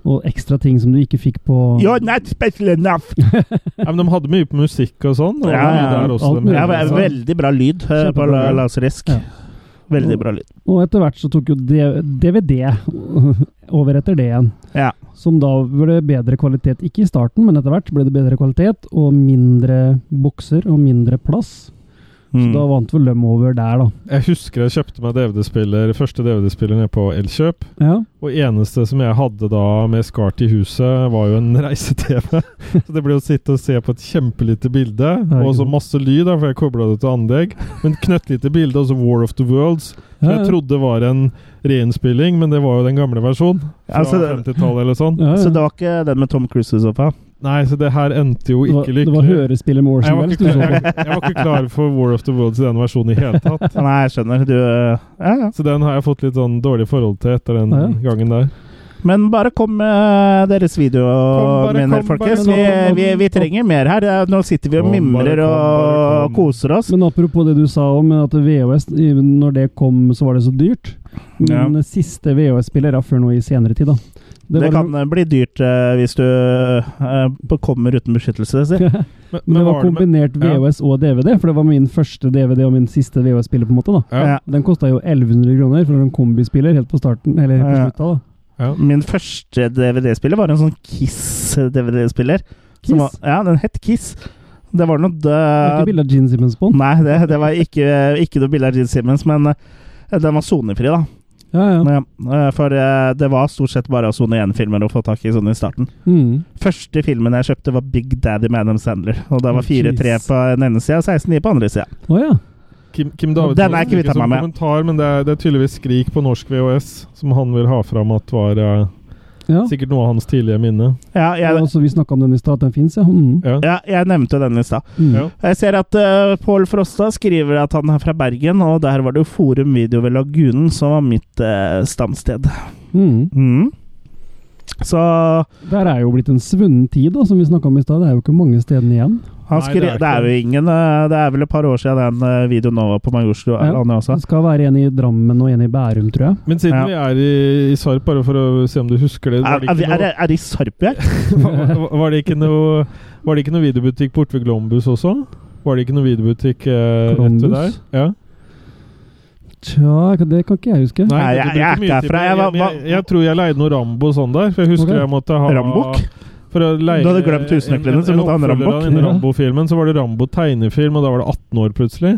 Speaker 3: og ekstra ting som du ikke fikk på
Speaker 1: You're not special enough!
Speaker 2: Nei, men de hadde mye på musikk og sånn. Og
Speaker 1: Ja,
Speaker 2: mye
Speaker 1: ja.
Speaker 2: Der også,
Speaker 3: Alt
Speaker 2: de
Speaker 3: mulig.
Speaker 1: Ja,
Speaker 2: gjorde,
Speaker 1: ve-
Speaker 2: så-
Speaker 1: veldig bra lyd eh, på
Speaker 3: Kjempebra.
Speaker 1: Laserisk.
Speaker 3: Ja.
Speaker 1: Veldig bra lyd.
Speaker 3: Og etter hvert så tok jo D- DVD over etter det igjen.
Speaker 1: Ja.
Speaker 3: Som da ble bedre kvalitet, ikke i starten, men etter hvert ble det bedre kvalitet og mindre bokser og mindre plass. Så da
Speaker 1: Mm.
Speaker 3: vant vel dem over der, da.
Speaker 2: Jeg husker jeg kjøpte meg DVD-spiller, første DVD-spiller nede på Elkjøp.
Speaker 3: Ja,
Speaker 2: Og eneste som jeg hadde da med skart i huset, var jo en reise-TV. Så det ble å sitte og se på et kjempelite bilde, og så masse lyd, da, for jeg kobla det til anlegg. Men knøttlite bilde, og så War of the Worlds. Som
Speaker 3: Ja, ja.
Speaker 2: jeg trodde var en reinnspilling, men det var jo den gamle versjonen. Fra
Speaker 1: Altså, det-
Speaker 2: 50-tallet eller sånn.
Speaker 3: ja, ja.
Speaker 1: Så det var ikke den med Tom Cruise i så fall?
Speaker 2: Nei, så det her endte jo
Speaker 3: Det var-
Speaker 2: ikke
Speaker 3: Det var
Speaker 2: lykkelig. Jeg
Speaker 3: hørespillet med
Speaker 2: var,
Speaker 3: Orson
Speaker 2: ikke,
Speaker 3: Welles du så
Speaker 2: jeg,
Speaker 3: på.
Speaker 2: jeg var ikke klar for War of the Worlds i den versjonen i hele tatt.
Speaker 1: Nei, jeg skjønner. Du eh, Ja, ja.
Speaker 2: Så den har jeg fått litt sånn dårlig forhold til etter den
Speaker 3: Ja,
Speaker 2: gangen der.
Speaker 1: Men bare kom med deres video,
Speaker 2: Kom, bare
Speaker 1: mener
Speaker 2: kom,
Speaker 1: folkens.
Speaker 2: bare
Speaker 1: Vi,
Speaker 2: kom,
Speaker 1: vi, vi trenger mer her. Eh, Nå sitter vi og
Speaker 2: Kom, bare
Speaker 1: mimrer
Speaker 2: kom, bare
Speaker 1: og
Speaker 2: kom.
Speaker 1: koser oss.
Speaker 3: Men apropos det du sa om at VHS, i- når det kom, så var det så dyrt. Men
Speaker 1: Ja.
Speaker 3: siste VHS-spiller, ja, før nå i senere tid, da.
Speaker 1: Det,
Speaker 3: var
Speaker 1: kan eh, bli dyrt eh, hvis du eh, kommer uten beskyttelse. Si.
Speaker 2: Men,
Speaker 3: Men det var
Speaker 2: det med-
Speaker 3: kombinert
Speaker 2: ja.
Speaker 3: VHS og DVD, for det var min første DVD og min siste VHS-spiller, på en måte. da.
Speaker 1: Ja.
Speaker 2: ja,
Speaker 3: Den kosta jo 1100 kroner for en kombispiller helt på starten, eller helt på
Speaker 1: Ja.
Speaker 3: slutta. da.
Speaker 2: ja.
Speaker 1: Min første DVD-spiller var en sånn Kiss-DVD-spiller.
Speaker 3: Kiss?
Speaker 1: Var, ja, den het Kiss. Det var noe
Speaker 3: Det
Speaker 1: død
Speaker 3: er ikke bilde av Gene Simmons på den?
Speaker 1: Nei, det, det var ikke, ikke noe bilde av Gene Simmons, men eh, den var sonefri, da.
Speaker 3: Ja, ja.
Speaker 1: Ja, eh, For eh, det var stort sett bare sone 1-filmer å få tak i sånn i starten.
Speaker 3: Mm.
Speaker 1: Første filmen jeg kjøpte, var Big Daddy med Adam Sandler. Og da
Speaker 3: Å,
Speaker 1: var 4-3
Speaker 3: jeez.
Speaker 1: på den ene sida og 16-9 på den andre sida.
Speaker 3: Å ja.
Speaker 2: Kim, Kim Davidsen
Speaker 1: Den er jeg kvittet
Speaker 2: ikke som
Speaker 1: meg med.
Speaker 2: kommentar, men det er, det er tydeligvis skrik på norsk VHS som han vil ha fram at var eh,
Speaker 3: Ja,
Speaker 2: sikkert noe av hans tidlige minne.
Speaker 1: Ja, jeg,
Speaker 3: altså, vi snakka om den i stad, at den fins, ja. Mm.
Speaker 2: Ja.
Speaker 1: ja, jeg nevnte den i stad.
Speaker 3: Mm.
Speaker 2: Ja.
Speaker 1: Jeg ser at uh, Pål Frosta skriver at han er fra Bergen, og der var det jo Forum Video ved Lagunen som var mitt eh, stamsted.
Speaker 3: Mm.
Speaker 1: Mm. Så han
Speaker 3: Der er jo blitt en svunnen tid, da, som vi snakka om i stad. Det er jo ikke mange stedene igjen.
Speaker 2: Nei,
Speaker 1: skri,
Speaker 2: det
Speaker 1: det,
Speaker 2: er
Speaker 1: er
Speaker 2: ikke det.
Speaker 1: jo ingen eh, Det er vel et par år siden den eh, videoen nå var på Majorstua
Speaker 3: Ja.
Speaker 1: landet også.
Speaker 3: Det skal være en i Drammen og en i Bærum, tror jeg.
Speaker 2: Men siden
Speaker 1: Ja.
Speaker 2: vi er i, i Sarp, bare for å se om du husker det Var
Speaker 1: Er,
Speaker 2: det
Speaker 1: er, vi-
Speaker 2: ikke
Speaker 1: er,
Speaker 2: noe,
Speaker 1: det- er det i Sarp jeg?
Speaker 2: var det ikke noe, var det ikke noe videobutikk borte ved Glombus også? Var det ikke noe videobutikk eh, rett ved der?
Speaker 3: Glombus?
Speaker 2: Ja.
Speaker 3: Tja, det kan ikke jeg huske.
Speaker 2: Nei,
Speaker 1: Nei,
Speaker 2: det- det
Speaker 1: jeg- jeg
Speaker 2: bruker
Speaker 1: er ikke
Speaker 2: mye tid
Speaker 1: herfra.
Speaker 2: på det.
Speaker 1: Jeg var-
Speaker 2: Men jeg, jeg tror jeg leide noe Rambo og sånn der, for jeg husker
Speaker 3: Ok.
Speaker 2: jeg måtte ha
Speaker 1: Rambok?
Speaker 2: For å leie
Speaker 1: Du hadde glemt husnøklene, så du måtte ha en Rambok.
Speaker 2: En oppfølger av den
Speaker 3: Ja.
Speaker 2: Rambo-filmen, så var det Rambo tegnefilm, og da var det 18 år plutselig.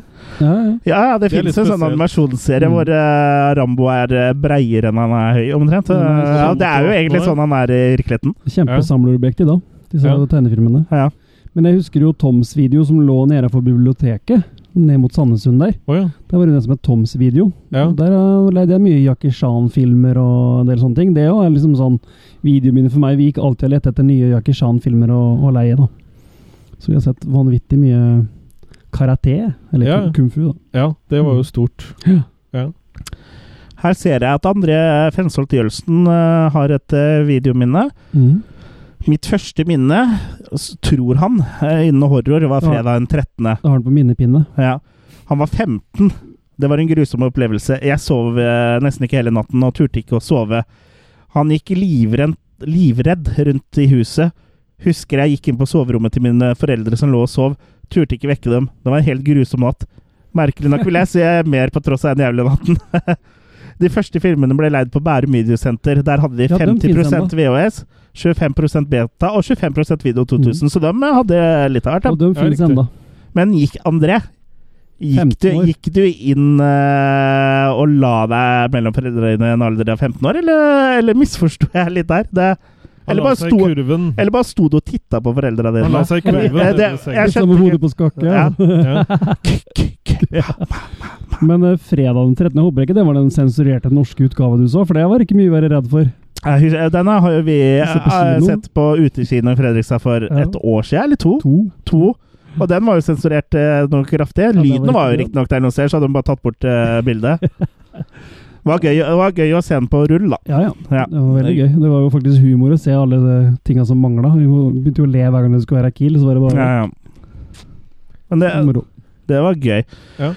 Speaker 3: Ja, ja.
Speaker 1: Ja, ja, det
Speaker 2: Det er
Speaker 1: finnes en
Speaker 2: litt
Speaker 1: sånn
Speaker 2: spesielt.
Speaker 1: animasjonsserie
Speaker 3: Mm.
Speaker 1: hvor eh, Rambo er eh, breiere enn han er høy, omtrent.
Speaker 3: Mm,
Speaker 1: Eh, ja,
Speaker 2: sånn
Speaker 1: det er jo
Speaker 2: til
Speaker 1: egentlig
Speaker 2: åttende.
Speaker 1: sånn han er i virkeligheten.
Speaker 3: Kjempesamlerobjekt i dag, disse
Speaker 2: Ja.
Speaker 3: tegnefilmene.
Speaker 1: Ja.
Speaker 3: Men jeg husker jo Toms video som lå nede for biblioteket, ned mot Sandesund der.
Speaker 2: Å ja.
Speaker 3: Det var jo den som het Toms video.
Speaker 2: Ja.
Speaker 3: Og Der eh, leide jeg mye Jackie Chan-filmer og en del sånne ting. Det er jo liksom sånn videominne for meg. Vi gikk alltid og lette etter nye Jackie Chan-filmer å, å leie, da. Så vi har sett vanvittig mye karate, eller
Speaker 2: Ja.
Speaker 3: kung- kung fu, da.
Speaker 2: ja, det var jo stort.
Speaker 1: Her ser jeg at André Fremsholt Jølsten eh, har et eh, videominne.
Speaker 3: Mm.
Speaker 1: Mitt første minne, s- tror han, eh, innen horror, var
Speaker 3: Ja.
Speaker 1: fredag den 13.
Speaker 3: Da har den på minnepinne.
Speaker 1: Ja. Han var 15. Det var en grusom opplevelse. Jeg sov eh, nesten ikke hele natten og turte ikke å sove. Han gikk livredd, livredd rundt i huset. Husker jeg gikk inn på soverommet til mine foreldre som lå og sov. Turte ikke vekke dem. Det var en helt grusom natt. Merkelig nok vil jeg se mer på tross av den jævla natten. De første filmene ble leid på Bærum Videosenter. Der hadde de
Speaker 3: Ja, dem finnes
Speaker 1: 50 VHS, 25 beta og 25 Video
Speaker 3: Mm.
Speaker 1: 2000. Så de hadde litt av hvert. da.
Speaker 3: Og de
Speaker 2: Ja,
Speaker 3: finnes
Speaker 2: riktig.
Speaker 3: ennå.
Speaker 1: Men gikk André Gikk
Speaker 3: 15
Speaker 1: du,
Speaker 3: år.
Speaker 1: gikk du inn eh, og la deg mellom foreldrene i en alder av 15 år, eller, eller misforsto jeg litt der? Det,
Speaker 2: Han
Speaker 1: Eller
Speaker 2: la
Speaker 1: bare
Speaker 2: seg i
Speaker 1: sto-
Speaker 2: kurven.
Speaker 1: eller bare sto du og titta på foreldrene dine?
Speaker 2: Han la seg i kurven.
Speaker 1: Eh,
Speaker 2: nede ved
Speaker 1: det- jeg
Speaker 2: sengen.
Speaker 3: Samme
Speaker 1: skjønte
Speaker 3: hodet på skakke.
Speaker 1: Ja.
Speaker 2: Ja.
Speaker 3: Men eh, fredag den 13. håper jeg ikke det var den sensurerte norske utgaven du så, for det var ikke mye å være redd for.
Speaker 1: Jeg husker- eh, Denne har jo vi
Speaker 3: Vi ser på
Speaker 1: eh,
Speaker 3: kino.
Speaker 1: sett på utekino i Fredrikstad for
Speaker 3: Ja.
Speaker 1: et år siden, eller to.
Speaker 3: To.
Speaker 1: to. Og den var jo sensurert eh, noe kraftig.
Speaker 3: det var
Speaker 1: Lyden var jo
Speaker 3: ikke-
Speaker 1: riktignok der noen steder, så hadde de bare tatt bort eh, bildet. Det var, gøy, det var gøy å se den på rull, da.
Speaker 3: Ja, ja.
Speaker 1: Ja.
Speaker 3: Det var veldig gøy. Det var jo faktisk humor å se alle de tinga som mangla. Vi må- begynte jo å le hver gang det skulle være kill, så var det
Speaker 1: Ja,
Speaker 3: bare
Speaker 1: ja. Men det,
Speaker 3: moro.
Speaker 1: det var gøy.
Speaker 2: Ja.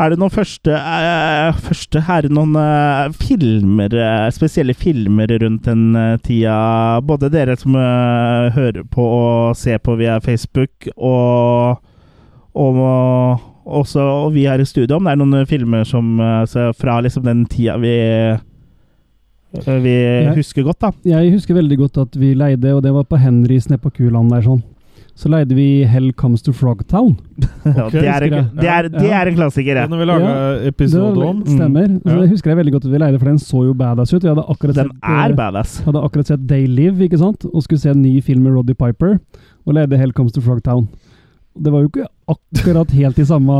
Speaker 1: Er det noen første, eh, første Er det noen eh, filmer eh, spesielle filmer rundt den eh, tida? Både dere som eh, hører på og ser på via Facebook, og, og, også og vi her i studio, om det er noen filmer som eh, så fra liksom den tida vi eh, vi
Speaker 3: Ja.
Speaker 1: husker godt, da.
Speaker 3: Jeg husker veldig godt at vi leide, og det var på Henrys nede på Kuland der sånn. Så leide vi Hell Comes to Frogtown.
Speaker 2: Ok,
Speaker 1: det, er en,
Speaker 3: husker jeg.
Speaker 1: det, er, det
Speaker 3: Ja.
Speaker 1: er en klassiker,
Speaker 2: Den
Speaker 1: ja.
Speaker 2: har vi laga episode om.
Speaker 3: Det stemmer.
Speaker 2: Mm.
Speaker 3: Så
Speaker 2: Ja.
Speaker 3: det husker jeg veldig godt at vi leide, for den så jo badass ut. Vi hadde akkurat
Speaker 1: Den
Speaker 3: sett, eh,
Speaker 1: er badass.
Speaker 3: hadde akkurat sett They Live, ikke sant? Og skulle se en ny film med Roddy Piper, og leide Hell Comes to Frogtown. Det var jo ikke akkurat helt i samme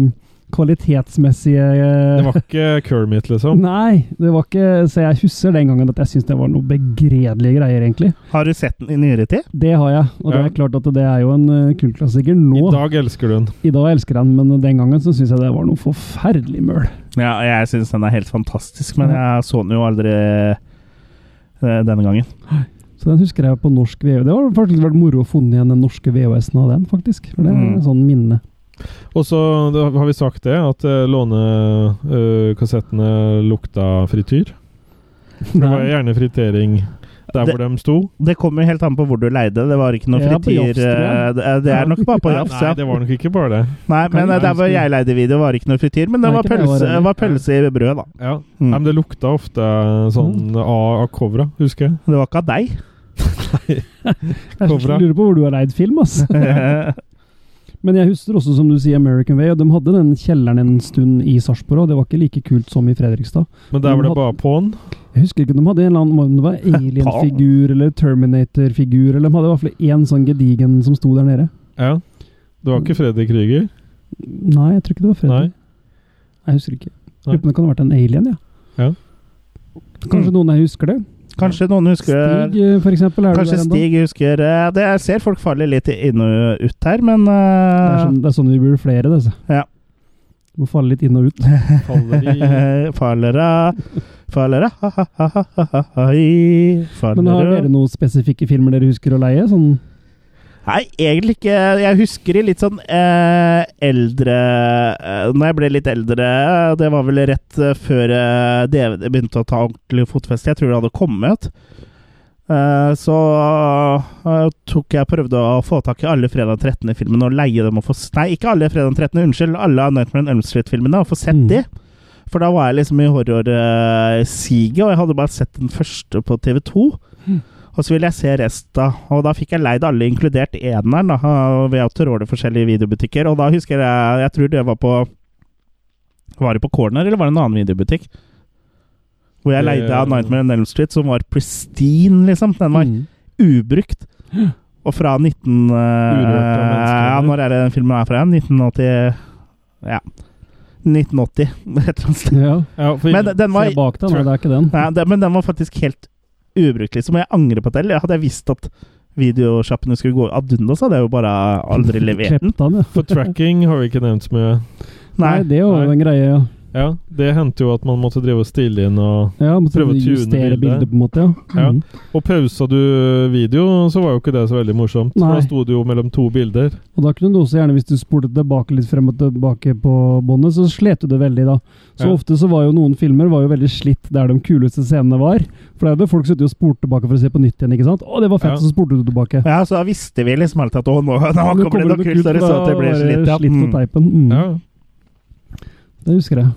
Speaker 3: øh, kvalitetsmessige øh,
Speaker 2: Det var ikke Kermit, liksom.
Speaker 3: Nei, det var ikke Så jeg husker den gangen at jeg syntes det var noe begredelige greier, egentlig.
Speaker 1: Har du sett den i nyere tid?
Speaker 3: Det har jeg, og det
Speaker 2: Ja.
Speaker 3: er klart at det er jo en øh, kultklassiker
Speaker 2: I
Speaker 3: nå. I dag,
Speaker 2: dag elsker du den.
Speaker 3: elsker jeg den, men den gangen så syns jeg det var noe forferdelig møl.
Speaker 1: Ja, jeg syns den er helt fantastisk, men jeg så den jo aldri eh, denne gangen.
Speaker 3: Så den husker jeg på norsk VHS. Det har faktisk vært moro å funne igjen den norske VHS-en av den, faktisk. For det er
Speaker 1: Mm.
Speaker 3: en sånn minne.
Speaker 2: Og så da har vi sagt det, at eh, lånekassettene lukta frityr. Det var
Speaker 3: Nei.
Speaker 2: gjerne fritering der hvor de sto.
Speaker 1: Det kommer helt an på hvor du leide. Det var ikke noe
Speaker 3: Ja, på
Speaker 1: frityr
Speaker 3: Jafs, tror jeg.
Speaker 1: eh, Det det er nok bare på Jafs,
Speaker 2: Nei,
Speaker 1: ja.
Speaker 2: det var nok ikke bare det.
Speaker 1: Nei,
Speaker 3: Kan
Speaker 1: men eh,
Speaker 3: jeg
Speaker 1: der hvor
Speaker 3: huske-
Speaker 1: jeg leide video, var det ikke noe frityr. Men det
Speaker 3: Nei,
Speaker 1: var
Speaker 3: ikke det jeg var
Speaker 1: pølse,
Speaker 3: heller.
Speaker 1: var pølse i brød, da.
Speaker 2: Ja.
Speaker 1: Mm.
Speaker 2: Nei, men det lukta ofte sånn av, av covra, husker jeg.
Speaker 1: Det var ikke av deg.
Speaker 3: Jeg
Speaker 2: Kobra.
Speaker 3: sånn lurer på hvor du har leid film, ass. Men jeg husker også, som du sier, American Way, og de hadde den kjelleren en stund i Sarpsborg, og det var ikke like kult som i Fredrikstad.
Speaker 2: Men der var det
Speaker 3: Men
Speaker 2: bare på'n.
Speaker 3: Jeg husker ikke, de hadde en eller annen om det var alien-figur eller Terminator-figur, eller de hadde i hvert fall én sånn gedigen som sto der nede.
Speaker 2: Ja. Det var ikke Freddy Krüger.
Speaker 3: Nei, jeg tror ikke det var Freddy.
Speaker 2: Nei.
Speaker 3: Jeg husker ikke.
Speaker 2: Nei.
Speaker 3: Lurer på om det kan ha vært en alien, ja.
Speaker 2: Ja.
Speaker 1: Mm.
Speaker 3: Kanskje noen her husker det.
Speaker 1: Kanskje noen husker
Speaker 3: Stig, eh, for eksempel, er
Speaker 1: Kanskje
Speaker 3: du der ennå?
Speaker 1: Stig husker eh, det, Jeg ser folk faller litt inn og ut her, men
Speaker 3: Det er,
Speaker 1: eh,
Speaker 3: sånn, det er sånn vi blir flere, det. Så.
Speaker 1: Ja.
Speaker 3: Du må falle litt inn og ut.
Speaker 2: Faller i
Speaker 1: Fallera Fallera
Speaker 3: Men har
Speaker 1: Fallera
Speaker 3: dere noen spesifikke filmer dere husker å leie? Sånn,
Speaker 1: Nei, egentlig ikke. Jeg husker i litt sånn eh, eldre eh, Når jeg ble litt eldre eh, Det var vel rett eh, før eh, DVD begynte å ta ordentlig fotfeste. Jeg tror det hadde kommet. Eh, så eh, tok jeg prøvde å få tak i alle Fredag 13.-filmene og leie dem og få s- Nei, ikke alle Fredag 13., unnskyld. Alle Nightmare on Elm Street-filmene og få sett
Speaker 3: Mm.
Speaker 1: de. For da var jeg liksom i horrorsiget, og jeg hadde bare sett den første på TV2. Og så ville jeg se resta, og da fikk jeg leid alle, inkludert eneren, da, ved å tråle forskjellige videobutikker. Og da husker jeg Jeg tror det var på Var det på Corner, eller var det en annen videobutikk? Hvor jeg
Speaker 2: Det-
Speaker 1: leide av Nightmare on Elm Street, som var pristine, liksom. Den var
Speaker 3: Mm.
Speaker 1: ubrukt. Og fra 19... eh,
Speaker 2: Urørte mennesker,
Speaker 1: ja,
Speaker 2: eller?
Speaker 1: når er det den filmen er fra? 1980 Ja. 1980, et eller annet sted.
Speaker 3: Ja.
Speaker 2: ja, for,
Speaker 1: Men den var
Speaker 3: Se bak deg, nei,
Speaker 2: tror-
Speaker 3: det er ikke den.
Speaker 1: Nei, det, men den var faktisk helt ubrukt, liksom. Jeg angrer på det. Eller Hadde jeg visst at videosjappene skulle gå ad undas, hadde jeg jo bare aldri levert den.
Speaker 3: Klept den, ja.
Speaker 2: for tracking har vi ikke nevnt så mye.
Speaker 1: Nei,
Speaker 3: Nei, det var
Speaker 2: Nei.
Speaker 3: jo en greie, ja.
Speaker 2: Ja, Det hendte jo at man måtte drive og stille inn og
Speaker 3: ja måtte
Speaker 2: Prøve å tune
Speaker 3: justere
Speaker 2: bildet.
Speaker 3: bildet, på en måte. Ja.
Speaker 2: Ja.
Speaker 3: Mm.
Speaker 2: Og pausa du video, så var jo ikke det så veldig morsomt. For
Speaker 3: Nei.
Speaker 2: da sto det jo mellom to bilder.
Speaker 3: Og da kunne du også gjerne, hvis du spolte tilbake litt frem og tilbake på båndet, så slet du det veldig da. Så
Speaker 2: Ja.
Speaker 3: ofte så var jo noen filmer var jo veldig slitt der de kuleste scenene var. For da hadde folk sittet og spolt tilbake for å se på nytt igjen, ikke sant? Å, det var fett,
Speaker 2: Ja.
Speaker 3: så spolte du tilbake.
Speaker 1: Ja, så da visste vi liksom alltid at å, nå, nå
Speaker 3: Nå
Speaker 1: kommer det noe kult, så det så at det blir
Speaker 3: da var
Speaker 1: slitt. Ja.
Speaker 3: det slitt på
Speaker 1: Mm.
Speaker 3: teipen. Mm.
Speaker 2: Ja.
Speaker 3: Det husker jeg.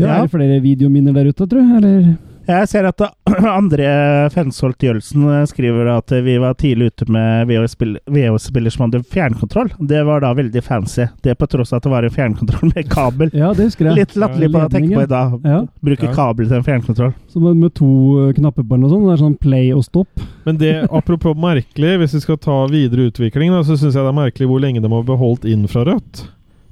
Speaker 3: Ja,
Speaker 1: Ja.
Speaker 3: Er det flere videominner der ute, tror jeg? Eller?
Speaker 1: Jeg ser at André Fensholt Jølsen eh, skriver at vi var tidlig ute med VHS-spiller som hadde fjernkontroll. Det var da veldig fancy. Det på tross av at det var en fjernkontroll med kabel.
Speaker 3: Ja, det husker jeg.
Speaker 1: Litt latterlig på å tenke på i dag.
Speaker 3: Ja,
Speaker 1: Bruke
Speaker 2: Ja.
Speaker 1: kabel til en fjernkontroll.
Speaker 3: så med, med to eh, knapper på den og sånn. Det er sånn play og stopp.
Speaker 2: Men det, apropos merkelig, hvis vi skal ta videre utvikling, da, så syns jeg det er merkelig hvor lenge de har beholdt infrarødt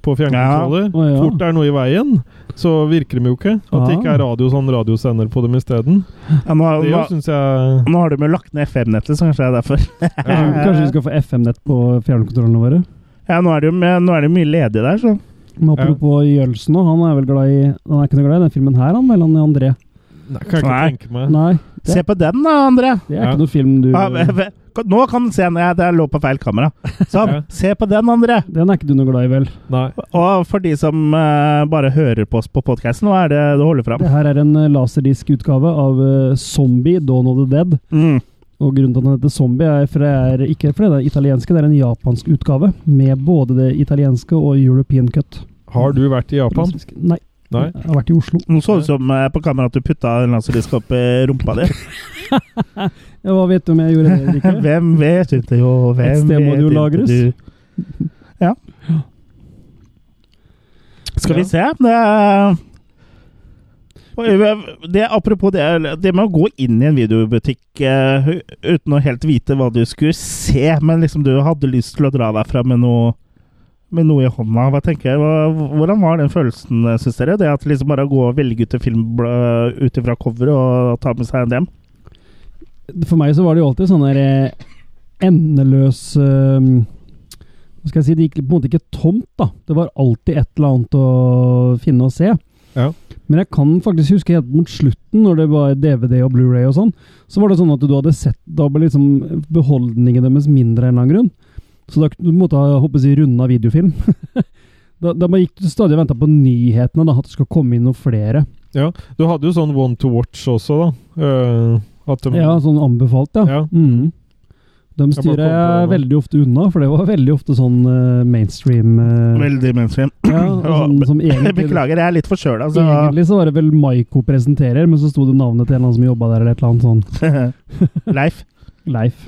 Speaker 2: på fjernkontroller.
Speaker 3: Å, ja.
Speaker 2: Fort det er noe i veien, så virker de jo ikke. At det ikke er radio sånn radiosender på dem isteden.
Speaker 1: Ja, nå,
Speaker 2: Det
Speaker 1: nå,
Speaker 2: jo syns jeg
Speaker 1: nå har de jo lagt ned FM-nettet, så kanskje det er derfor.
Speaker 2: ja,
Speaker 3: Kanskje vi skal få FM-nett på fjernkontrollene våre?
Speaker 1: Ja, nå er det jo, men nå er det jo mye ledig der, så.
Speaker 3: Men apropos Jølsen nå, han er vel glad i Han er ikke noe glad i den filmen her, han vel, han André?
Speaker 2: Nei, kan jeg ikke
Speaker 1: Nei.
Speaker 2: tenke meg.
Speaker 3: Nei, Det-
Speaker 1: Se på den da, André!
Speaker 3: det er
Speaker 2: Ja.
Speaker 3: ikke noe film du
Speaker 1: Ja, v-
Speaker 3: Den
Speaker 1: v- Nå kan du se når jeg det lå på feil kamera.
Speaker 2: Ja.
Speaker 1: Sånn. Se på den, André!
Speaker 3: er ikke du noe glad i, vel?
Speaker 2: Nei.
Speaker 1: Og for de som eh, bare hører på oss på podkasten, hva er det du holder fram?
Speaker 3: Det her er en eh, laserdiskutgave av eh, Zombie Dawn of the Dead.
Speaker 1: Mm.
Speaker 3: Og grunnen til at den heter Zombie, er, for det er ikke fordi det er italienske, det er en japansk utgave. Med både det italienske og European cut.
Speaker 2: Har du vært i Japan?
Speaker 3: Nei,
Speaker 2: Nei.
Speaker 3: jeg har vært i Oslo.
Speaker 1: Nå så det ut som eh, på kameraet at du putta en laserdisk opp i rumpa di.
Speaker 3: Ja, hva vet du om jeg gjorde det eller ikke?
Speaker 1: Hvem vet ikke jo, hvem
Speaker 3: Et sted må
Speaker 1: vet
Speaker 3: det jo
Speaker 1: ikke
Speaker 3: lagres.
Speaker 1: du? Ja. Skal vi se det, er- Oi, det Apropos det, det med å gå inn i en videobutikk eh, uten å helt vite hva du skulle se, men liksom du hadde lyst til å dra derfra med noe med noe i hånda. Hva tenker jeg? Hva, hvordan var den følelsen, syns dere? Det at liksom bare å gå og velge ut en film eh, ut ifra coveret og ta med seg en dem?
Speaker 3: For meg så var det jo alltid sånn der eh, endeløs eh, Hva skal jeg si, det gikk på en måte ikke tomt, da. Det var alltid et eller annet å finne og se.
Speaker 2: Ja.
Speaker 3: Men jeg kan faktisk huske helt mot slutten, når det var DVD og Blu-ray og sånn, så var det sånn at du hadde sett Da ble liksom beholdningen deres mindre av en eller annen grunn. Så da kunne du på en måte ha håper jeg å si, runda videofilm. da, da man gikk du stadig og venta på nyhetene, da, at det skulle komme inn noen flere.
Speaker 2: Du hadde jo sånn one to watch også, da. Eh, at de,
Speaker 3: Ja,
Speaker 1: altså,
Speaker 3: sånn anbefalt, ja.
Speaker 2: Ja.
Speaker 3: Mm. De
Speaker 2: Jeg bare kom
Speaker 3: styrer
Speaker 2: på det
Speaker 3: jeg
Speaker 2: nå.
Speaker 3: veldig ofte unna, for det var veldig ofte sånn eh, mainstream eh,
Speaker 1: Veldig mainstream.
Speaker 3: ja, og sånn, som egentlig,
Speaker 1: Beklager, altså. jeg er litt forkjøla, så
Speaker 3: egentlig så var det vel Maiko presenterer, men så sto det navnet til en eller annen som jobba der, eller et eller annet sånn.
Speaker 1: Leif.
Speaker 3: Leif.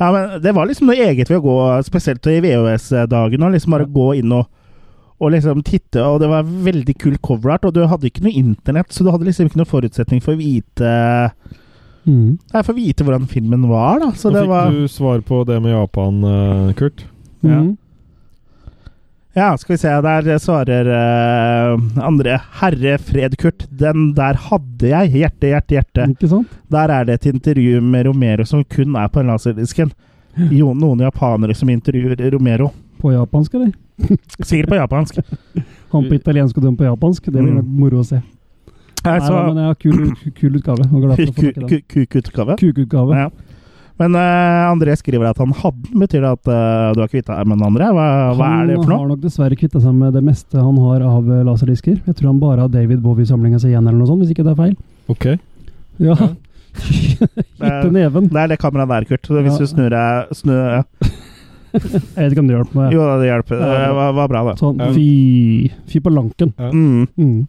Speaker 1: Ja, men det var liksom noe eget ved å gå, spesielt i VHS-dagen, og liksom bare gå inn og, og liksom titte, og det var veldig kul coverart, og du hadde ikke noe internett, så du hadde liksom ikke noe forutsetning for å vite
Speaker 3: Mm.
Speaker 1: Jeg får vite hvordan filmen var, da. Så
Speaker 2: Nå
Speaker 1: det
Speaker 2: fikk
Speaker 1: var
Speaker 2: du svar på det med Japan, eh, Kurt.
Speaker 1: Ja.
Speaker 3: Mm.
Speaker 1: Ja, skal vi se. Der svarer eh, andre. Herre fred, Kurt. Den der hadde jeg. Hjerte, hjerte, hjerte.
Speaker 3: Ikke sant?
Speaker 1: Der er det et intervju med Romero som kun er på laserdisken. Jo, noen japanere som intervjuer Romero.
Speaker 3: På japansk, eller?
Speaker 1: Sikkert på japansk.
Speaker 3: Han på italiensk og den på japansk. Det blir
Speaker 1: Mm.
Speaker 3: vært moro å se.
Speaker 1: Her
Speaker 3: Nei, da, men
Speaker 1: så
Speaker 3: jeg har kul, kul utgave. Og glad for å få tak i den.
Speaker 1: Kukutgave.
Speaker 3: Kukutgave.
Speaker 1: Ja. Men eh, André skriver at han hadde den. Betyr det at eh, du har kvitta deg med den andre? Hva, hva er det for
Speaker 3: Han
Speaker 1: noe?
Speaker 3: har nok dessverre kvitta seg med det meste han har av eh, laserdisker. Jeg tror han bare har David Bowie-samlinga si igjen, eller noe sånt, hvis ikke det er feil.
Speaker 2: Ok.
Speaker 3: Ja. Hytte neven.
Speaker 1: Det er det kameraet der, Kurt. Så Hvis
Speaker 3: Ja.
Speaker 1: du snur deg snu,
Speaker 3: Jeg vet ikke om det hjalp meg.
Speaker 1: Jo, det hjelper. Det var, var bra, det.
Speaker 3: Sånn,
Speaker 2: Ja.
Speaker 3: fy, fy på lanken.
Speaker 1: Mm.
Speaker 3: Mm.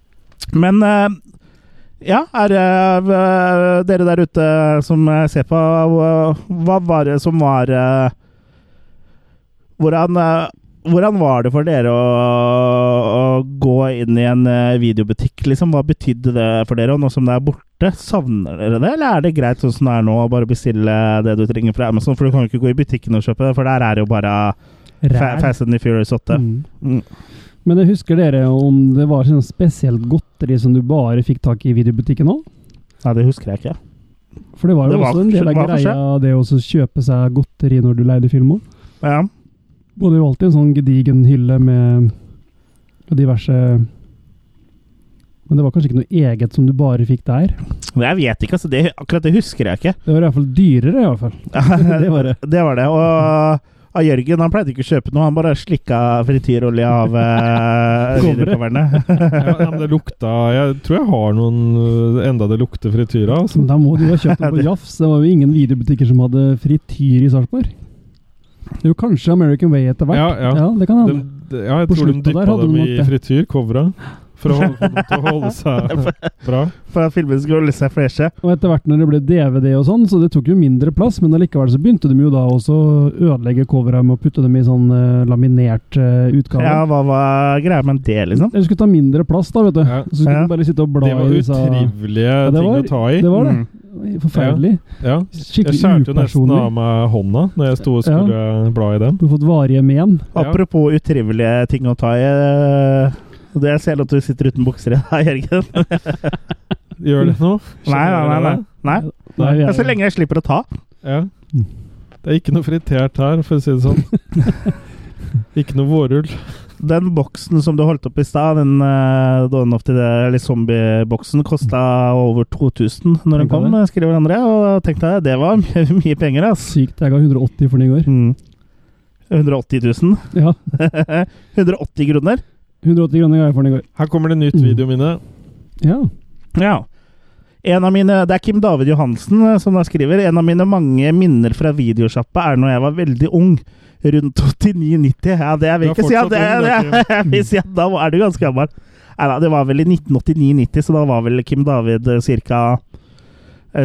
Speaker 1: Men eh, ja, er eh, dere der ute som eh, ser på, hva- hva var det som var eh, hvordan, eh, hvordan var det for dere å, å gå inn i en eh, videobutikk, liksom? Hva betydde det for dere? Og nå som det er borte, savner dere det? Eller er det greit sånn som det er nå, å bare bestille det du trenger fra Amazon? For du kan jo ikke gå i butikken og kjøpe det, for der er det jo bare Fa-
Speaker 3: Ræl.
Speaker 1: Fast and the Furious 8.
Speaker 3: Mm.
Speaker 1: Mm.
Speaker 3: Men jeg husker dere om det var sånn spesielt godteri som du bare fikk tak i i videobutikken òg?
Speaker 1: Nei, det husker jeg ikke.
Speaker 3: For det var jo
Speaker 1: Det var
Speaker 3: også en del av
Speaker 1: forskjell- var
Speaker 3: greia, det å så kjøpe seg godteri når du leide film òg.
Speaker 1: Ja.
Speaker 3: Og det er jo alltid en sånn gedigen hylle med diverse Men det var kanskje ikke noe eget som du bare fikk der.
Speaker 1: Men Jeg vet ikke, altså. Det, akkurat det husker jeg ikke.
Speaker 3: Det var i hvert fall dyrere, i hvert fall. Det var det.
Speaker 1: Det var det. Og av Jørgen han pleide ikke å kjøpe noe, han bare slikka frityrolje av eh,
Speaker 3: Coveret.
Speaker 1: videocoverne.
Speaker 2: Ja, men det lukta Jeg tror jeg har noen øh, enda det lukter frityra. Altså.
Speaker 3: Men da må du jo ha kjøpt det på Jafs. Det var jo ingen videobutikker som hadde frityr i Sarpsborg. Jo, kanskje American Way etter hvert.
Speaker 2: Ja, ja.
Speaker 3: det kan
Speaker 2: De,
Speaker 3: hende.
Speaker 2: de, ja, jeg
Speaker 3: På
Speaker 2: tror de
Speaker 3: slutten der
Speaker 2: dyppa
Speaker 3: hadde
Speaker 2: dem
Speaker 3: de
Speaker 2: i
Speaker 3: nok det.
Speaker 2: frityr, covra, for å holde for dem til å holde seg bra.
Speaker 1: For at filmen skulle holde seg freshe.
Speaker 3: Og etter hvert når det ble DVD og sånn, så det tok jo mindre plass, men allikevel så begynte de jo da også å ødelegge covera med å putte dem i sånn eh, laminert eh, utgave.
Speaker 1: Ja, hva var greia med det, liksom?
Speaker 3: De skulle ta mindre plass da, vet du.
Speaker 2: Ja.
Speaker 3: Så skulle
Speaker 1: Ja.
Speaker 3: de bare sitte og bla
Speaker 2: Det var
Speaker 3: i disse
Speaker 2: utrivelige
Speaker 3: det
Speaker 2: ting
Speaker 3: var-
Speaker 2: å ta i.
Speaker 3: Det var det.
Speaker 1: Mm.
Speaker 3: Forferdelig.
Speaker 2: Ja. Jeg
Speaker 3: Skikkelig
Speaker 2: skjærte jo nesten
Speaker 3: upersonlig.
Speaker 2: av meg hånda når jeg sto og skulle bla i dem.
Speaker 3: Du har fått varige men.
Speaker 1: Apropos utrivelige ting å ta i. eh, Det jeg ser at du sitter uten bukser i deg, Jørgen.
Speaker 2: Gjør det nå?
Speaker 1: Nei, nei, nei. nei. nei.
Speaker 3: Nei, vi
Speaker 1: Men
Speaker 3: er-
Speaker 1: Så lenge jeg slipper å ta.
Speaker 2: Ja.
Speaker 3: Mm.
Speaker 2: Det er ikke noe fritert her, for å si det sånn. Ikke noe vårrull.
Speaker 1: Den boksen som du holdt opp i stad, den eh, Dawn of the Dead, eller zombieboksen, kosta over 2000 når den
Speaker 3: Tenk deg
Speaker 1: kom, skriver André. Og tenk deg, det var mye, mye penger, ass.
Speaker 3: Sykt. Jeg ga 180 for den i går.
Speaker 1: Mm. 180 000.
Speaker 3: Ja.
Speaker 1: 180 kroner.
Speaker 3: 180 kroner ga jeg for den i går.
Speaker 2: Her kommer det nytt
Speaker 3: Mm.
Speaker 2: videominne.
Speaker 3: Ja.
Speaker 1: Ja. En av mine, det er Kim David Johansen eh, som da skriver En av mine mange minner fra videosjappa er når jeg var veldig ung. Rundt 89-90. Ja, det jeg vil
Speaker 2: Du er
Speaker 1: ikke si at
Speaker 2: fortsatt
Speaker 1: det, det,
Speaker 2: ung, da, Kim.
Speaker 1: jeg vil si at da er du ganske gammel. Nei da, det var vel i 1989-90, så da var vel Kim David eh, ca.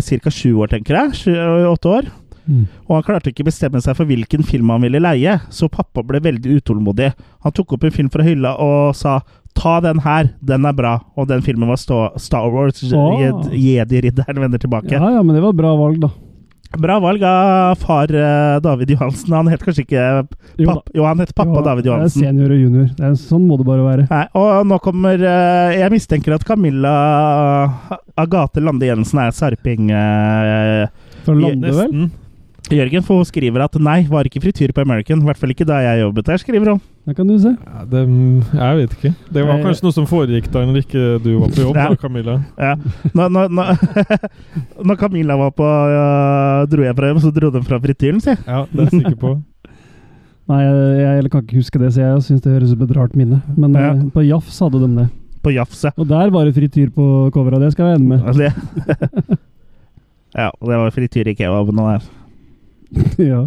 Speaker 1: Ca. sju år, tenker jeg. Sju-åtte år.
Speaker 3: Mm.
Speaker 1: Og han klarte ikke bestemme seg for hvilken film han ville leie, så pappa ble veldig utålmodig. Han tok opp en film fra hylla og sa 'ta den her, den er bra'. Og den filmen var Sta- Star Wars,
Speaker 3: Ah.
Speaker 1: Jed- Jedi-ridderen vender tilbake.
Speaker 3: ja, ja, men det var bra valg, da.
Speaker 1: Bra valg av far eh, David Johansen. Han het kanskje ikke
Speaker 3: Jo da.
Speaker 1: papp, Jo, han het pappa
Speaker 3: Jo,
Speaker 1: David Johansen.
Speaker 3: Det er senior og junior. Det er, sånn må det bare være.
Speaker 1: Nei, og nå kommer eh, Jeg mistenker at Camilla Agathe Lande Jensen er sarping. eh,
Speaker 3: For å lande vel.
Speaker 2: Nesten.
Speaker 1: Jørgen, for hun skriver at nei, var ikke frityr på American. I hvert fall ikke da jeg jobbet der, skriver hun.
Speaker 3: Det kan du se.
Speaker 2: Ja, det, mm, jeg vet ikke. Det var kanskje noe som foregikk der når ikke du var på jobb,
Speaker 1: Ja.
Speaker 2: da, Camilla.
Speaker 1: Ja. Når, når, når, når Camilla var på øh, dro jeg fra hjem, så dro de fra frityren, si.
Speaker 2: Ja, det er jeg sikker på.
Speaker 3: Nei, jeg, jeg kan ikke huske det, så jeg syns det høres ut som et rart minne. Men
Speaker 1: Ja.
Speaker 3: eh, på Jafs hadde de det.
Speaker 1: På Jafse.
Speaker 3: Og der var det frityr på coveret, det skal jeg ende med.
Speaker 1: Altså, det- ja, og det var frityr i kebaben og der.
Speaker 3: ja.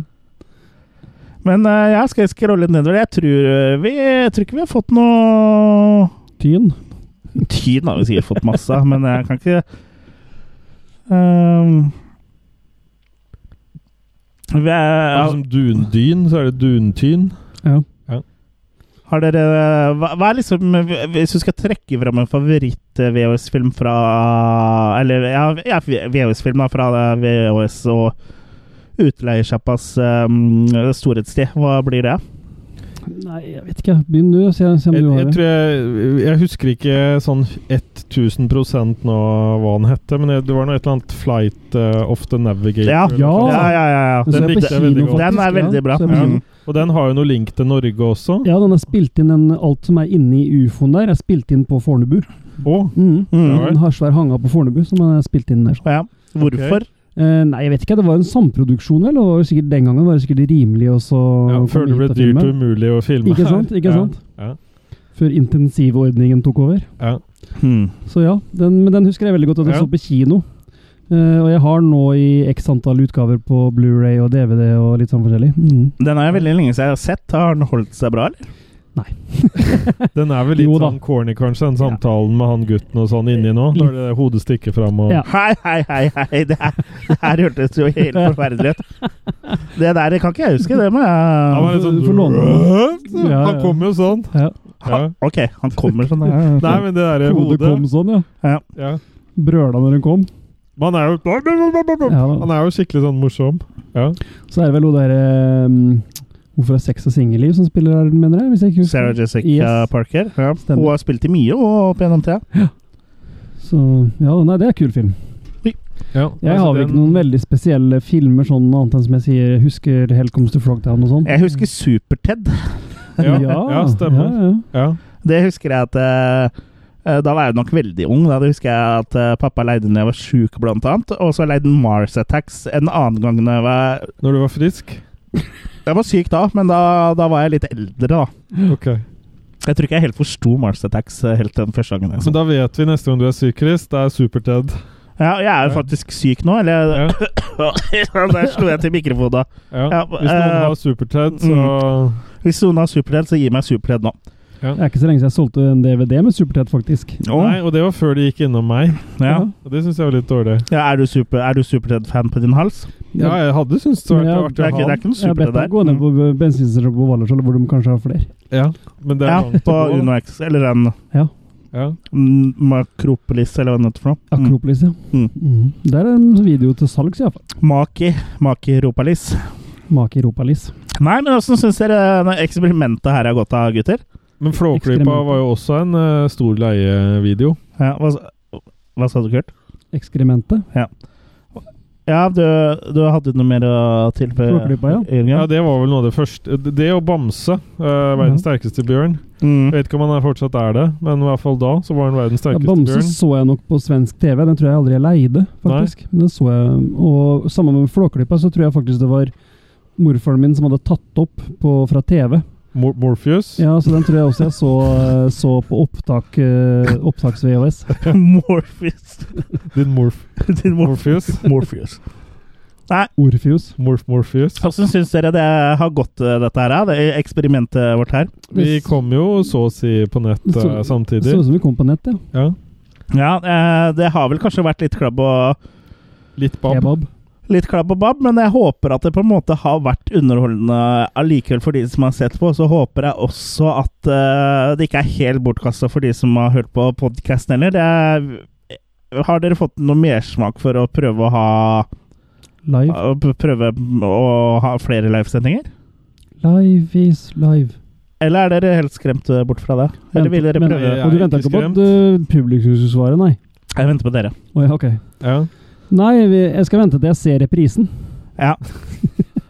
Speaker 1: Men øh, jeg skal scrolle nedover. Jeg tror, øh, vi, jeg tror ikke vi har fått noe
Speaker 3: Tyn.
Speaker 1: Tyn har vi sikkert fått masse av, men jeg kan ikke Ehm, vi
Speaker 2: Ja.
Speaker 1: er,
Speaker 3: Altså,
Speaker 2: Som dundyn, så er det duntyn.
Speaker 3: Ja.
Speaker 1: har dere hva, hva er liksom Hvis du skal trekke fram en favoritt siste VHS-film fra Eller ja, ja VHS-film da, fra eh, VHS og utleiesjappas um, storhetstid. Hva blir det?
Speaker 3: Nei, jeg vet ikke. Begynn du, se, se om
Speaker 2: Jeg,
Speaker 3: du har
Speaker 2: jeg
Speaker 3: det.
Speaker 2: tror jeg, jeg husker ikke sånn 1000 nå hva han hette, men det var noe et eller annet 'Flight eh, of the Navigator'.
Speaker 1: Ja.
Speaker 2: eller
Speaker 3: Ja.
Speaker 2: noe sånt.
Speaker 1: Ja, ja, ja. ja.
Speaker 3: Den
Speaker 2: Den
Speaker 3: ser jeg på
Speaker 2: likte jeg veldig
Speaker 3: kino,
Speaker 2: godt.
Speaker 1: Den er
Speaker 3: faktisk,
Speaker 1: veldig bra.
Speaker 3: Så jeg på
Speaker 1: Ja.
Speaker 3: kino.
Speaker 2: Og den har jo noe link til Norge også.
Speaker 3: Ja, den er spilt inn, den, alt som er inni ufoen der, er spilt inn på Fornebu.
Speaker 2: Å,
Speaker 3: Mm.
Speaker 1: Mm.
Speaker 3: En har svær hanga på Fornebu som er spilt inn der.
Speaker 1: ja. Hvorfor?
Speaker 3: Eh, nei, jeg vet ikke. Det var en samproduksjon, vel? Og det var jo sikkert, den gangen var det sikkert rimelig også
Speaker 2: ja, før det ble dyrt og umulig å filme.
Speaker 3: Ikke sant?
Speaker 2: Ja,
Speaker 3: Ikke sant?
Speaker 2: Ja,
Speaker 3: Før intensivordningen tok over.
Speaker 2: ja.
Speaker 1: Hmm.
Speaker 3: Så ja, den, men den husker jeg veldig godt at jeg
Speaker 2: Ja.
Speaker 3: så på kino. Eh, og jeg har nå i x antall utgaver på Blu-ray og DVD og litt sånn forskjellig. Mm.
Speaker 1: Den er veldig lenge siden jeg har sett. Har den holdt seg bra, eller?
Speaker 2: Den er vel litt
Speaker 3: Jo da.
Speaker 2: sånn corny, kanskje, den samtalen med han gutten og sånn inni nå. Når det hodet stikker fram og
Speaker 3: Ja.
Speaker 1: Hei, hei, hei, hei! Det her, det her hørtes jo helt forferdelig ut. Det der kan ikke jeg huske, det må
Speaker 2: Han var
Speaker 1: jeg
Speaker 2: litt sånn
Speaker 3: Du får låne
Speaker 2: «Rødt!»
Speaker 3: Ja,
Speaker 2: Han
Speaker 3: ja.
Speaker 2: kom jo sånn.
Speaker 3: Ja.
Speaker 2: Ja.
Speaker 1: Ok, han kommer sånn. Ja.
Speaker 2: Nei, men det derre
Speaker 3: Hodet
Speaker 2: hodet
Speaker 3: kom sånn, ja.
Speaker 2: ja.
Speaker 3: Brøla når den kom.
Speaker 2: Man er jo
Speaker 3: Ja, da.
Speaker 2: Han er jo skikkelig sånn morsom. Ja.
Speaker 3: Så er det vel hun derre Hvorfor er sex og singelliv som spiller her, mener jeg? Hvis jeg ikke husker.
Speaker 1: Sarah Jessica
Speaker 3: Yes.
Speaker 1: Parker. Ja. Hun
Speaker 3: Stemmer.
Speaker 1: har spilt i mye og opp gjennom tida.
Speaker 3: Så ja, nei, det er en kul film.
Speaker 2: Ja,
Speaker 3: Jeg
Speaker 2: altså
Speaker 3: har vel
Speaker 2: den-
Speaker 3: ikke noen veldig spesielle filmer sånn annet enn som jeg sier husker Hell Comes to Frogtown og sånn.
Speaker 1: Jeg husker Super-Ted.
Speaker 2: Ja, ja, stemmer.
Speaker 3: Ja, ja.
Speaker 2: Ja.
Speaker 1: Det husker jeg at eh, eh, Da var jeg nok veldig ung. Da Det husker jeg at eh, pappa leide når jeg var sjuk, blant annet. Og så leide han Mars Attacks en annen gang når jeg var
Speaker 2: Når du var frisk?
Speaker 1: Jeg var syk da, men da, da var jeg litt eldre, da.
Speaker 2: Ok.
Speaker 1: Jeg tror ikke jeg helt forsto Mars Attacks eh, helt den første gangen. jeg så
Speaker 2: Men da vet vi neste gang du er syk, Chris. Det er Super-Ted.
Speaker 1: Ja, jeg er jo faktisk syk nå, eller
Speaker 2: Ja.
Speaker 1: Der slo jeg til mikrofonen.
Speaker 2: Ja.
Speaker 1: Ja,
Speaker 2: Hvis noen
Speaker 1: eh, mm.
Speaker 2: har Super-Ted, så
Speaker 1: Hvis noen har superted, så gi meg superted nå.
Speaker 3: Det er ikke så lenge siden jeg solgte en DVD med Supertett, faktisk.
Speaker 2: Nei, og det var før de gikk innom meg.
Speaker 1: ja.
Speaker 2: Og det syns jeg var litt dårlig.
Speaker 1: Ja, er du, super, er du superted-fan på din hals?
Speaker 2: Ja, Mm. jeg hadde syntes det var
Speaker 3: Men
Speaker 2: litt
Speaker 1: Det er
Speaker 2: artig
Speaker 1: ikke,
Speaker 2: å
Speaker 1: det
Speaker 2: ha
Speaker 1: er ikke noe
Speaker 3: Jeg har bedt
Speaker 1: superted
Speaker 3: deg gå
Speaker 1: der. Mm.
Speaker 3: ned på bensinstasjonen på Valdresjøen, hvor de kanskje har flere.
Speaker 2: Ja, men det er
Speaker 1: Ja,
Speaker 2: langt å
Speaker 1: på
Speaker 2: gå, da.
Speaker 1: UnoX, eller en
Speaker 2: Ja.
Speaker 1: mm, Makropolis, eller hva det heter for noe. Mm.
Speaker 3: Akropolis, ja.
Speaker 1: Mm.
Speaker 3: Mm. Der er en video til salgs, iallfall.
Speaker 1: Maki. Maki Ropalis.
Speaker 3: Make Europalis.
Speaker 1: Nei, men åssen syns dere det eksperimentet her er godt av, gutter?
Speaker 2: Men Flåklypa
Speaker 3: Ekskrementer.
Speaker 2: var jo også en eh, stor leievideo.
Speaker 1: Ja, hva, sa- hva sa du, Kurt?
Speaker 3: Ekskrementet.
Speaker 1: Ja, du, du hadde noe mer å tilføye?
Speaker 3: Flåklypa, ja.
Speaker 1: Jørgen?
Speaker 2: Ja, det var vel noe av det første Det- Det og Bamse, eh, verdens sterkeste bjørn.
Speaker 1: Mm.
Speaker 2: Jeg vet ikke om han er- fortsatt er det, men i hvert fall da så var han verdens
Speaker 3: Ja,
Speaker 2: sterkeste
Speaker 3: Bamse
Speaker 2: bjørn.
Speaker 3: så jeg nok på svensk TV. Den tror jeg aldri jeg leide, faktisk. Men den så jeg. Og sammen med Flåklypa så tror jeg faktisk det var morfaren min som hadde tatt opp på, fra TV.
Speaker 2: Mor Morpheus.
Speaker 3: Ja, så den tror jeg også jeg så, eh, så på opptak, eh, opptaks-VHS.
Speaker 1: Morpheus.
Speaker 2: Din Morph
Speaker 1: Din mor
Speaker 2: Morpheus.
Speaker 1: Morpheus.
Speaker 3: Orfius.
Speaker 2: Morph Morpheus.
Speaker 1: Hvordan syns dere det har gått, eh, dette her? eh, Det eksperimentet vårt her?
Speaker 2: Vi kom jo så å si på nett eh,
Speaker 3: Så- Det så
Speaker 2: samtidig.
Speaker 3: ut som vi kom på nett, ja.
Speaker 2: Ja.
Speaker 1: Ja, eh, det har vel kanskje vært litt klabb og
Speaker 2: Litt bab.
Speaker 3: Kebab.
Speaker 1: Litt klabb og babb, men jeg håper at det på en måte har vært underholdende allikevel for de som har sett på. Så håper jeg også at eh, det ikke er helt bortkasta for de som har hørt på podkasten heller. Det er- har dere fått noe mersmak for å prøve å ha
Speaker 3: Live.
Speaker 1: å Prøve å ha flere livesendinger?
Speaker 3: Live is live.
Speaker 1: Eller er dere helt skremt eh, bort fra det? Eller vil dere
Speaker 3: Men-
Speaker 1: prøve?
Speaker 2: Jeg
Speaker 3: Og du
Speaker 2: er
Speaker 3: venta
Speaker 2: ikke
Speaker 3: ikke på at eh, publikum skulle svare, nei?
Speaker 1: eh, Jeg venter på dere.
Speaker 3: Å ja, ok.
Speaker 2: Ja.
Speaker 3: Nei, vi- jeg skal vente til jeg ser reprisen.
Speaker 1: Ja.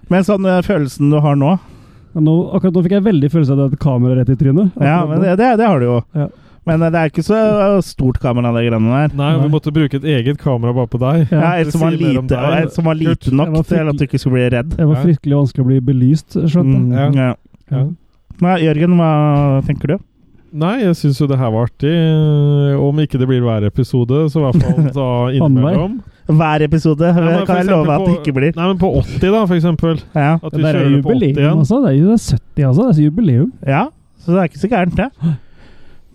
Speaker 1: Men sånn eh, følelsen du har nå
Speaker 3: Ja, Nå, akkurat nå fikk jeg veldig følelse av at det er et kamera rett i trynet.
Speaker 1: Ja, men det, det, det har du jo.
Speaker 3: Ja.
Speaker 1: Men eh, det er ikke så eh, stort kamera, det greiene der.
Speaker 2: Nei, vi måtte bruke et eget kamera bare på deg.
Speaker 1: Ja,
Speaker 2: det
Speaker 1: et som var
Speaker 2: sier mer om
Speaker 1: lite,
Speaker 2: deg.
Speaker 1: et som var
Speaker 2: Kult.
Speaker 1: lite nok
Speaker 3: Jeg var
Speaker 1: til at du ikke skulle bli redd.
Speaker 3: Det var
Speaker 2: Ja.
Speaker 3: fryktelig vanskelig å bli belyst, skjønte
Speaker 1: Mm,
Speaker 3: jeg.
Speaker 2: Ja.
Speaker 1: ja.
Speaker 2: Ja.
Speaker 1: Nei, Jørgen, hva tenker du?
Speaker 2: Nei, jeg syns jo det her var artig. eh, Om ikke det blir hver episode, så i hvert fall da innimellom.
Speaker 1: Hver episode
Speaker 2: men for
Speaker 1: kan jeg
Speaker 2: eksempel
Speaker 1: love at det
Speaker 2: på-
Speaker 1: ikke blir.
Speaker 2: Nei, men på 80, da, for eksempel.
Speaker 1: Ja.
Speaker 2: At vi
Speaker 3: Det der er
Speaker 2: kjører på 80
Speaker 3: jubileum,
Speaker 2: igjen.
Speaker 3: altså. Det er jo det er 70, altså. Det er jubileum.
Speaker 1: ja, så det er ikke så gærent, det.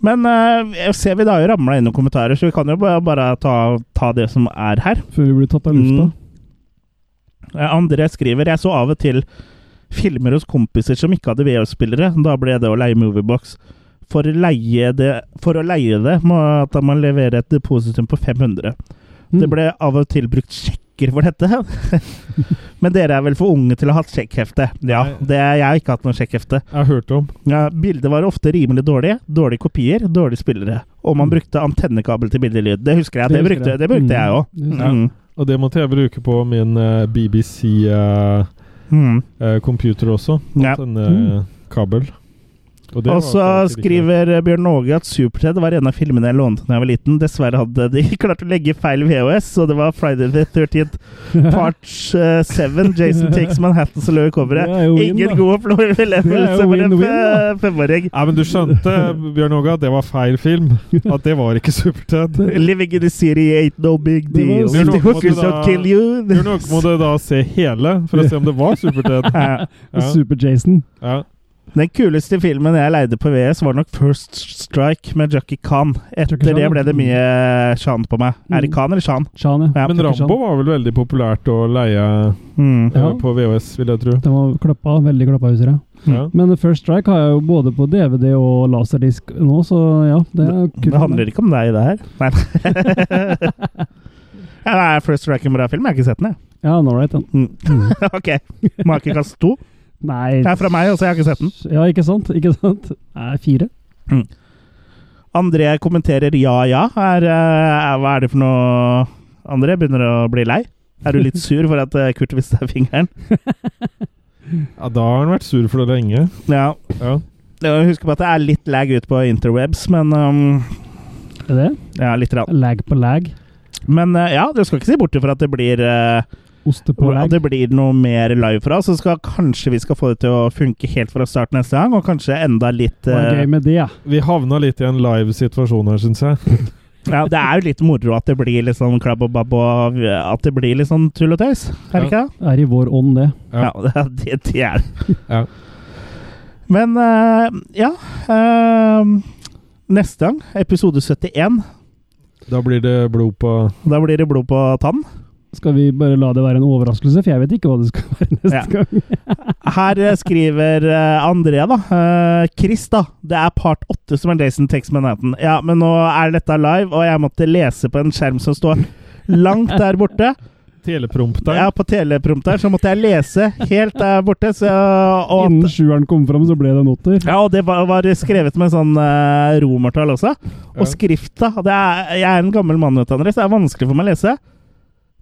Speaker 1: Men eh, jeg ser vi da har jo ramla inn noen kommentarer, så vi kan jo bare, bare ta, ta det som er her.
Speaker 3: Før vi blir tatt av lufta.
Speaker 1: Mm.
Speaker 3: Mm.
Speaker 1: Eh, André skriver Jeg så av og til filmer hos kompiser som ikke hadde VHS-spillere. Da ble det å leie Moviebox. For, leie det, for å leie det må at man levere et depositum på 500. Mm.
Speaker 3: Mm.
Speaker 1: Det ble av og til brukt sjekker for dette. Men dere er vel for unge til å ha hatt sjekkhefte? Ja, det er, jeg har ikke hatt noe sjekkhefte.
Speaker 2: Jeg har hørt om.
Speaker 1: Ja, bildet var ofte rimelig dårlig. Dårlige kopier, dårlige spillere. Og man brukte antennekabel til bildelyd. Det husker jeg. Det,
Speaker 3: Mm. Det husker
Speaker 1: brukte,
Speaker 3: jeg.
Speaker 1: det brukte
Speaker 3: Mm.
Speaker 1: jeg òg.
Speaker 3: Det husker
Speaker 1: Mm.
Speaker 2: Og det måtte jeg bruke på min eh, BBC eh,
Speaker 1: Mm.
Speaker 2: eh, computer også.
Speaker 1: Ja.
Speaker 2: Denne
Speaker 3: Mm.
Speaker 2: kabel. Og det var
Speaker 1: Og så
Speaker 2: faktisk ikke-
Speaker 1: skriver eh, Bjørn Åge at Superted var en av filmene jeg lånte da jeg var liten. Dessverre hadde de klart å legge feil VHS, så det var Friday the 13th
Speaker 3: Mm.
Speaker 1: part 7. Jason Takes Manhattan som lå i coveret.
Speaker 3: Det er jo win,
Speaker 1: Ingen
Speaker 3: da.
Speaker 1: god opplevelse
Speaker 3: Det er jo
Speaker 1: for en
Speaker 3: win-win,
Speaker 1: fe- femåring.
Speaker 2: Nei, men du skjønte, Bjørn Åge, at det var feil film. At det var ikke Super-Ted.
Speaker 1: Living in the city ain't no big
Speaker 3: Det var jo
Speaker 1: deal.
Speaker 2: Bjørn
Speaker 1: The
Speaker 2: Åge
Speaker 1: hookers
Speaker 2: måtte da-
Speaker 1: don't kill you.
Speaker 2: Bjørn Åge må du da se hele for å se om det var Super-Ted.
Speaker 1: Ja.
Speaker 2: Ja,
Speaker 3: Super-Jason.
Speaker 2: ja.
Speaker 1: Den kuleste filmen jeg leide på VS, var nok First Strike med Jackie Khan. Etter
Speaker 3: Jackie Chan,
Speaker 1: det
Speaker 3: ja.
Speaker 1: ble det mye Shan på meg. Er det
Speaker 3: Mm.
Speaker 1: Khan eller Shan?
Speaker 3: Chan, ja.
Speaker 1: Ja.
Speaker 2: Men Rambo var vel veldig populært å leie
Speaker 1: Mm.
Speaker 2: eh,
Speaker 3: Ja.
Speaker 2: på VHS, vil jeg tro.
Speaker 3: Den var klappa, veldig klappa, husker jeg.
Speaker 2: Ja.
Speaker 3: Men First Strike har jeg jo både på DVD og laserdisk nå, så ja. Det er kult.
Speaker 1: Det handler ikke om deg, det her. Nei. Ja, det er First Strike en bra film? Jeg har ikke sett den, jeg.
Speaker 3: Ja, all right, den.
Speaker 1: Mm. ok. Makekast to.
Speaker 3: Nei
Speaker 1: Det er fra meg også, jeg har ikke sett den.
Speaker 3: Ja, ikke sant? Ikke sant? Nei, fire.
Speaker 1: André kommenterer ja, ja. Er, eh, hva er det for noe André begynner å bli lei. Er du litt sur for at eh, Kurt viste deg fingeren?
Speaker 2: ja, da har han vært sur for det lenge.
Speaker 1: Ja.
Speaker 2: Ja.
Speaker 1: Husk på at det er litt lag ute på interwebs, men um,
Speaker 3: Er det det?
Speaker 1: Ja, litt. Rann.
Speaker 3: Lag på lag.
Speaker 1: Men eh, ja, du skal ikke se bort ifra at det blir eh,
Speaker 3: Oste på
Speaker 1: at
Speaker 3: lag.
Speaker 1: det blir noe mer live fra oss. Så skal, kanskje vi skal få det til å funke helt fra start neste gang, og kanskje enda litt
Speaker 3: Hva er
Speaker 1: eh,
Speaker 3: gøy med det, ja?
Speaker 2: Vi havna litt i en live situasjon her, syns jeg.
Speaker 1: ja, Det er jo litt moro at det blir litt sånn klabb og babb, og eh, at det blir litt sånn tull og tøys. Er det ikke det?
Speaker 3: Er i vår ånd, det.
Speaker 2: Ja.
Speaker 1: Ja, det, det er det.
Speaker 2: Ja.
Speaker 1: Men eh, ja eh, Neste gang, episode 71,
Speaker 2: Da blir det blod på
Speaker 1: da blir det blod på tann.
Speaker 3: Skal vi bare la det være en overraskelse? For jeg vet ikke hva det skal være neste
Speaker 1: Ja.
Speaker 3: gang.
Speaker 1: Her eh, skriver eh, André, da. eh, Chris, da. Det er part åtte som er Jason Takes Manhattan. Ja, men nå er dette live, og jeg måtte lese på en skjerm som står langt der borte.
Speaker 2: teleprompteren.
Speaker 1: Ja, på teleprompter, så måtte jeg lese helt der borte. Så, og,
Speaker 3: Innen sjueren kom fram, så ble det en åtter.
Speaker 1: ja, og det var, var skrevet med sånn eh, romertall også. Og skrifta det er, Jeg er en gammel mann, vet du, André, så det er vanskelig for meg å lese.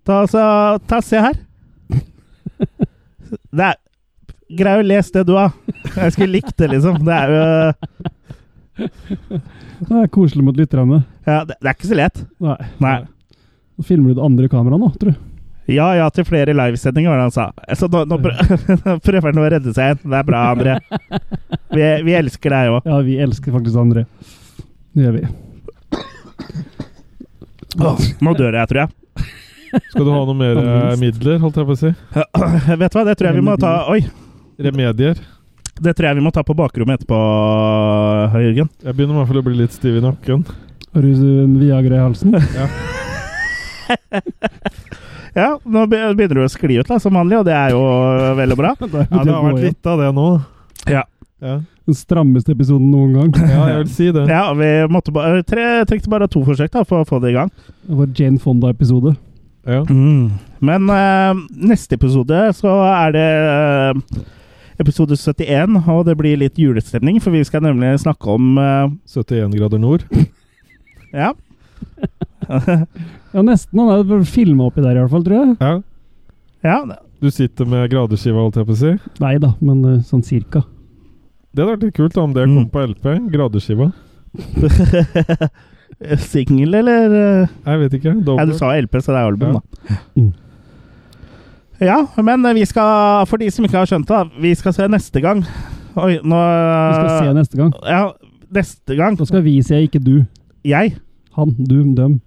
Speaker 1: Ta, så, ta Se her. Det er Grei å lese det du har. Jeg skulle likt det, liksom. Det er jo
Speaker 3: Det er koselig mot lytterne.
Speaker 1: ja, det, det er ikke så lett.
Speaker 3: Nei.
Speaker 1: Nei.
Speaker 3: Nå filmer du det andre kameraet nå, tror du.
Speaker 1: Ja ja til flere livesendinger, var det han sa. Så nå, nå prø- prøver han å redde seg igjen. Det er bra, André. Vi, vi elsker deg òg.
Speaker 3: Ja, vi elsker faktisk André. Det gjør vi.
Speaker 1: Nå dør jeg, tror jeg.
Speaker 2: Skal du ha noe mer eh, midler, holdt jeg på å si?
Speaker 1: Vet du hva, det tror jeg vi må ta Oi!
Speaker 2: Remedier.
Speaker 1: Det tror jeg vi må ta på bakrommet etterpå, Jørgen.
Speaker 2: Jeg begynner i hvert fall å bli litt stiv i nakken.
Speaker 3: Har du en Viagra i halsen?
Speaker 1: Ja, nå be- begynner du å skli ut, da, som vanlig, og det er jo vel og bra.
Speaker 3: Ja, det
Speaker 2: Ja, det har vært litt av det nå.
Speaker 1: Ja.
Speaker 2: Ja,
Speaker 3: Den strammeste episoden noen gang.
Speaker 2: ja jeg vil si det.
Speaker 1: Ja, vi måtte ba vi tre, trengte bare to forsøk da, for å få det i gang.
Speaker 3: Det var Jane Fonda-episode.
Speaker 2: Ja.
Speaker 3: Mm.
Speaker 1: Men eh, neste episode så er det eh, episode 71, og det blir litt julestemning, for vi skal nemlig snakke om eh,
Speaker 2: 71 grader nord.
Speaker 1: Ja.
Speaker 3: Ja, nesten. Han er filma oppi der i hvert fall, tror jeg.
Speaker 2: Ja.
Speaker 1: ja.
Speaker 2: Du sitter med gradeskiva, holdt jeg på å si.
Speaker 3: Nei da, men eh, sånn cirka.
Speaker 2: Det hadde vært litt kult da, om det kom
Speaker 1: Mm.
Speaker 2: på LP. Gradeskiva.
Speaker 1: Singel, eller? eh?
Speaker 2: Jeg vet ikke.
Speaker 1: Ja, du
Speaker 2: Dobbelt.
Speaker 1: sa LP, så det er album,
Speaker 2: Ja.
Speaker 1: da. Mm. Ja, men vi skal, for de som ikke har skjønt det, da, vi skal se neste gang. Oi, nå
Speaker 3: Vi
Speaker 1: Eh.
Speaker 3: skal se neste gang.
Speaker 1: Ja, neste gang.
Speaker 3: Da skal vi se, ikke du.
Speaker 1: Jeg.
Speaker 3: Han, du, dem.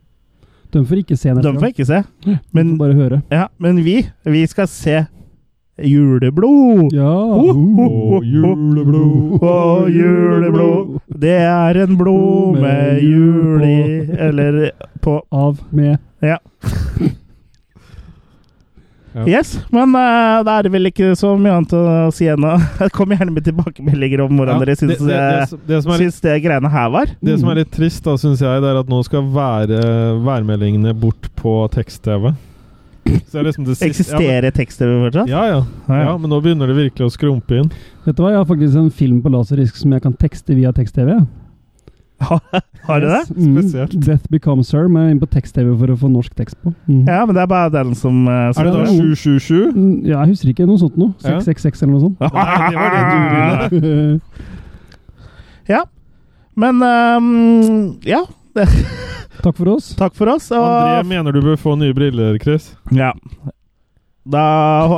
Speaker 3: De får ikke se neste
Speaker 1: De får
Speaker 3: gang.
Speaker 1: jeg ikke se.
Speaker 3: De
Speaker 1: Men,
Speaker 3: får bare høre.
Speaker 1: ja, men vi, vi skal se Juleblod.
Speaker 3: Ja!
Speaker 1: Ho, ho, ho,
Speaker 2: Å, juleblod.
Speaker 1: Å, juleblod. Det er en blod med jul i Eller på
Speaker 3: Av med
Speaker 1: Ja. Yes, men eh, da er det vel ikke så mye annet å si enn å Kom gjerne med tilbakemeldinger om hvordan
Speaker 2: Ja,
Speaker 1: dere syns
Speaker 2: det, det,
Speaker 1: det,
Speaker 2: det, det som er litt
Speaker 1: syns det greiene her var.
Speaker 2: Det som er litt trist, da, syns jeg, det er at nå skal være, værmeldingene bort på tekst-TV. Så det er liksom det siste-
Speaker 1: Eksisterer tekst-TV fortsatt?
Speaker 2: Ja, men- ja, ja. ja, men nå begynner det virkelig å skrumpe inn.
Speaker 3: Vet du hva, jeg har faktisk en film på laserdisk som jeg kan tekste via tekst-TV.
Speaker 1: Har du det?
Speaker 3: Yes. Mm.
Speaker 2: Spesielt.
Speaker 3: Death Becomes Her må jeg inn på tekst-TV for å få norsk tekst på. Mm.
Speaker 1: Ja, men det er bare den som eh,
Speaker 2: Er det da
Speaker 3: det er jo-
Speaker 2: 777?
Speaker 3: Mm, Ja, jeg husker ikke noe sånt noe.
Speaker 2: Ja.
Speaker 3: 666 eller noe sånt.
Speaker 2: Nei, det var det du ville.
Speaker 1: Men ehm, ja,
Speaker 3: Takk for oss.
Speaker 1: takk for oss. Og
Speaker 2: André mener du bør få nye briller, Chris.
Speaker 1: ja. da,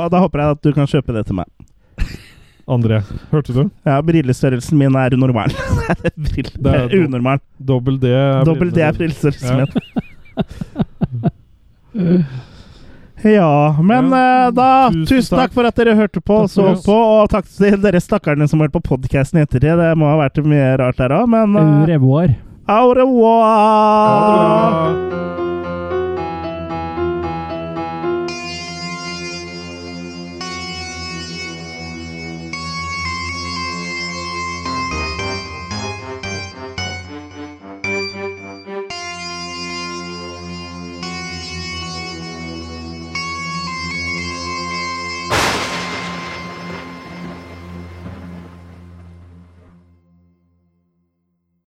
Speaker 1: da håper jeg at du kan kjøpe det til meg.
Speaker 2: André, hørte du?
Speaker 1: Ja, Brillestørrelsen min er unormal. Brill,
Speaker 2: Det er do-
Speaker 1: unormal.
Speaker 2: Dobbel D. er
Speaker 1: Dobbel D
Speaker 2: brillene
Speaker 1: er
Speaker 2: dine.
Speaker 1: brillestørrelsen min. Ja, men
Speaker 2: Ja,
Speaker 1: eh, da
Speaker 2: tusen
Speaker 1: Tusen, takk for at dere hørte på og
Speaker 2: Takk
Speaker 1: så
Speaker 2: for oss.
Speaker 1: på. Og takk til dere stakkarene som hørte på podkasten etter det. Det må ha vært mye rart der òg, men
Speaker 3: En
Speaker 1: eh,
Speaker 3: revoir.
Speaker 1: au revoir!
Speaker 2: Ja, det var-
Speaker 1: Ah.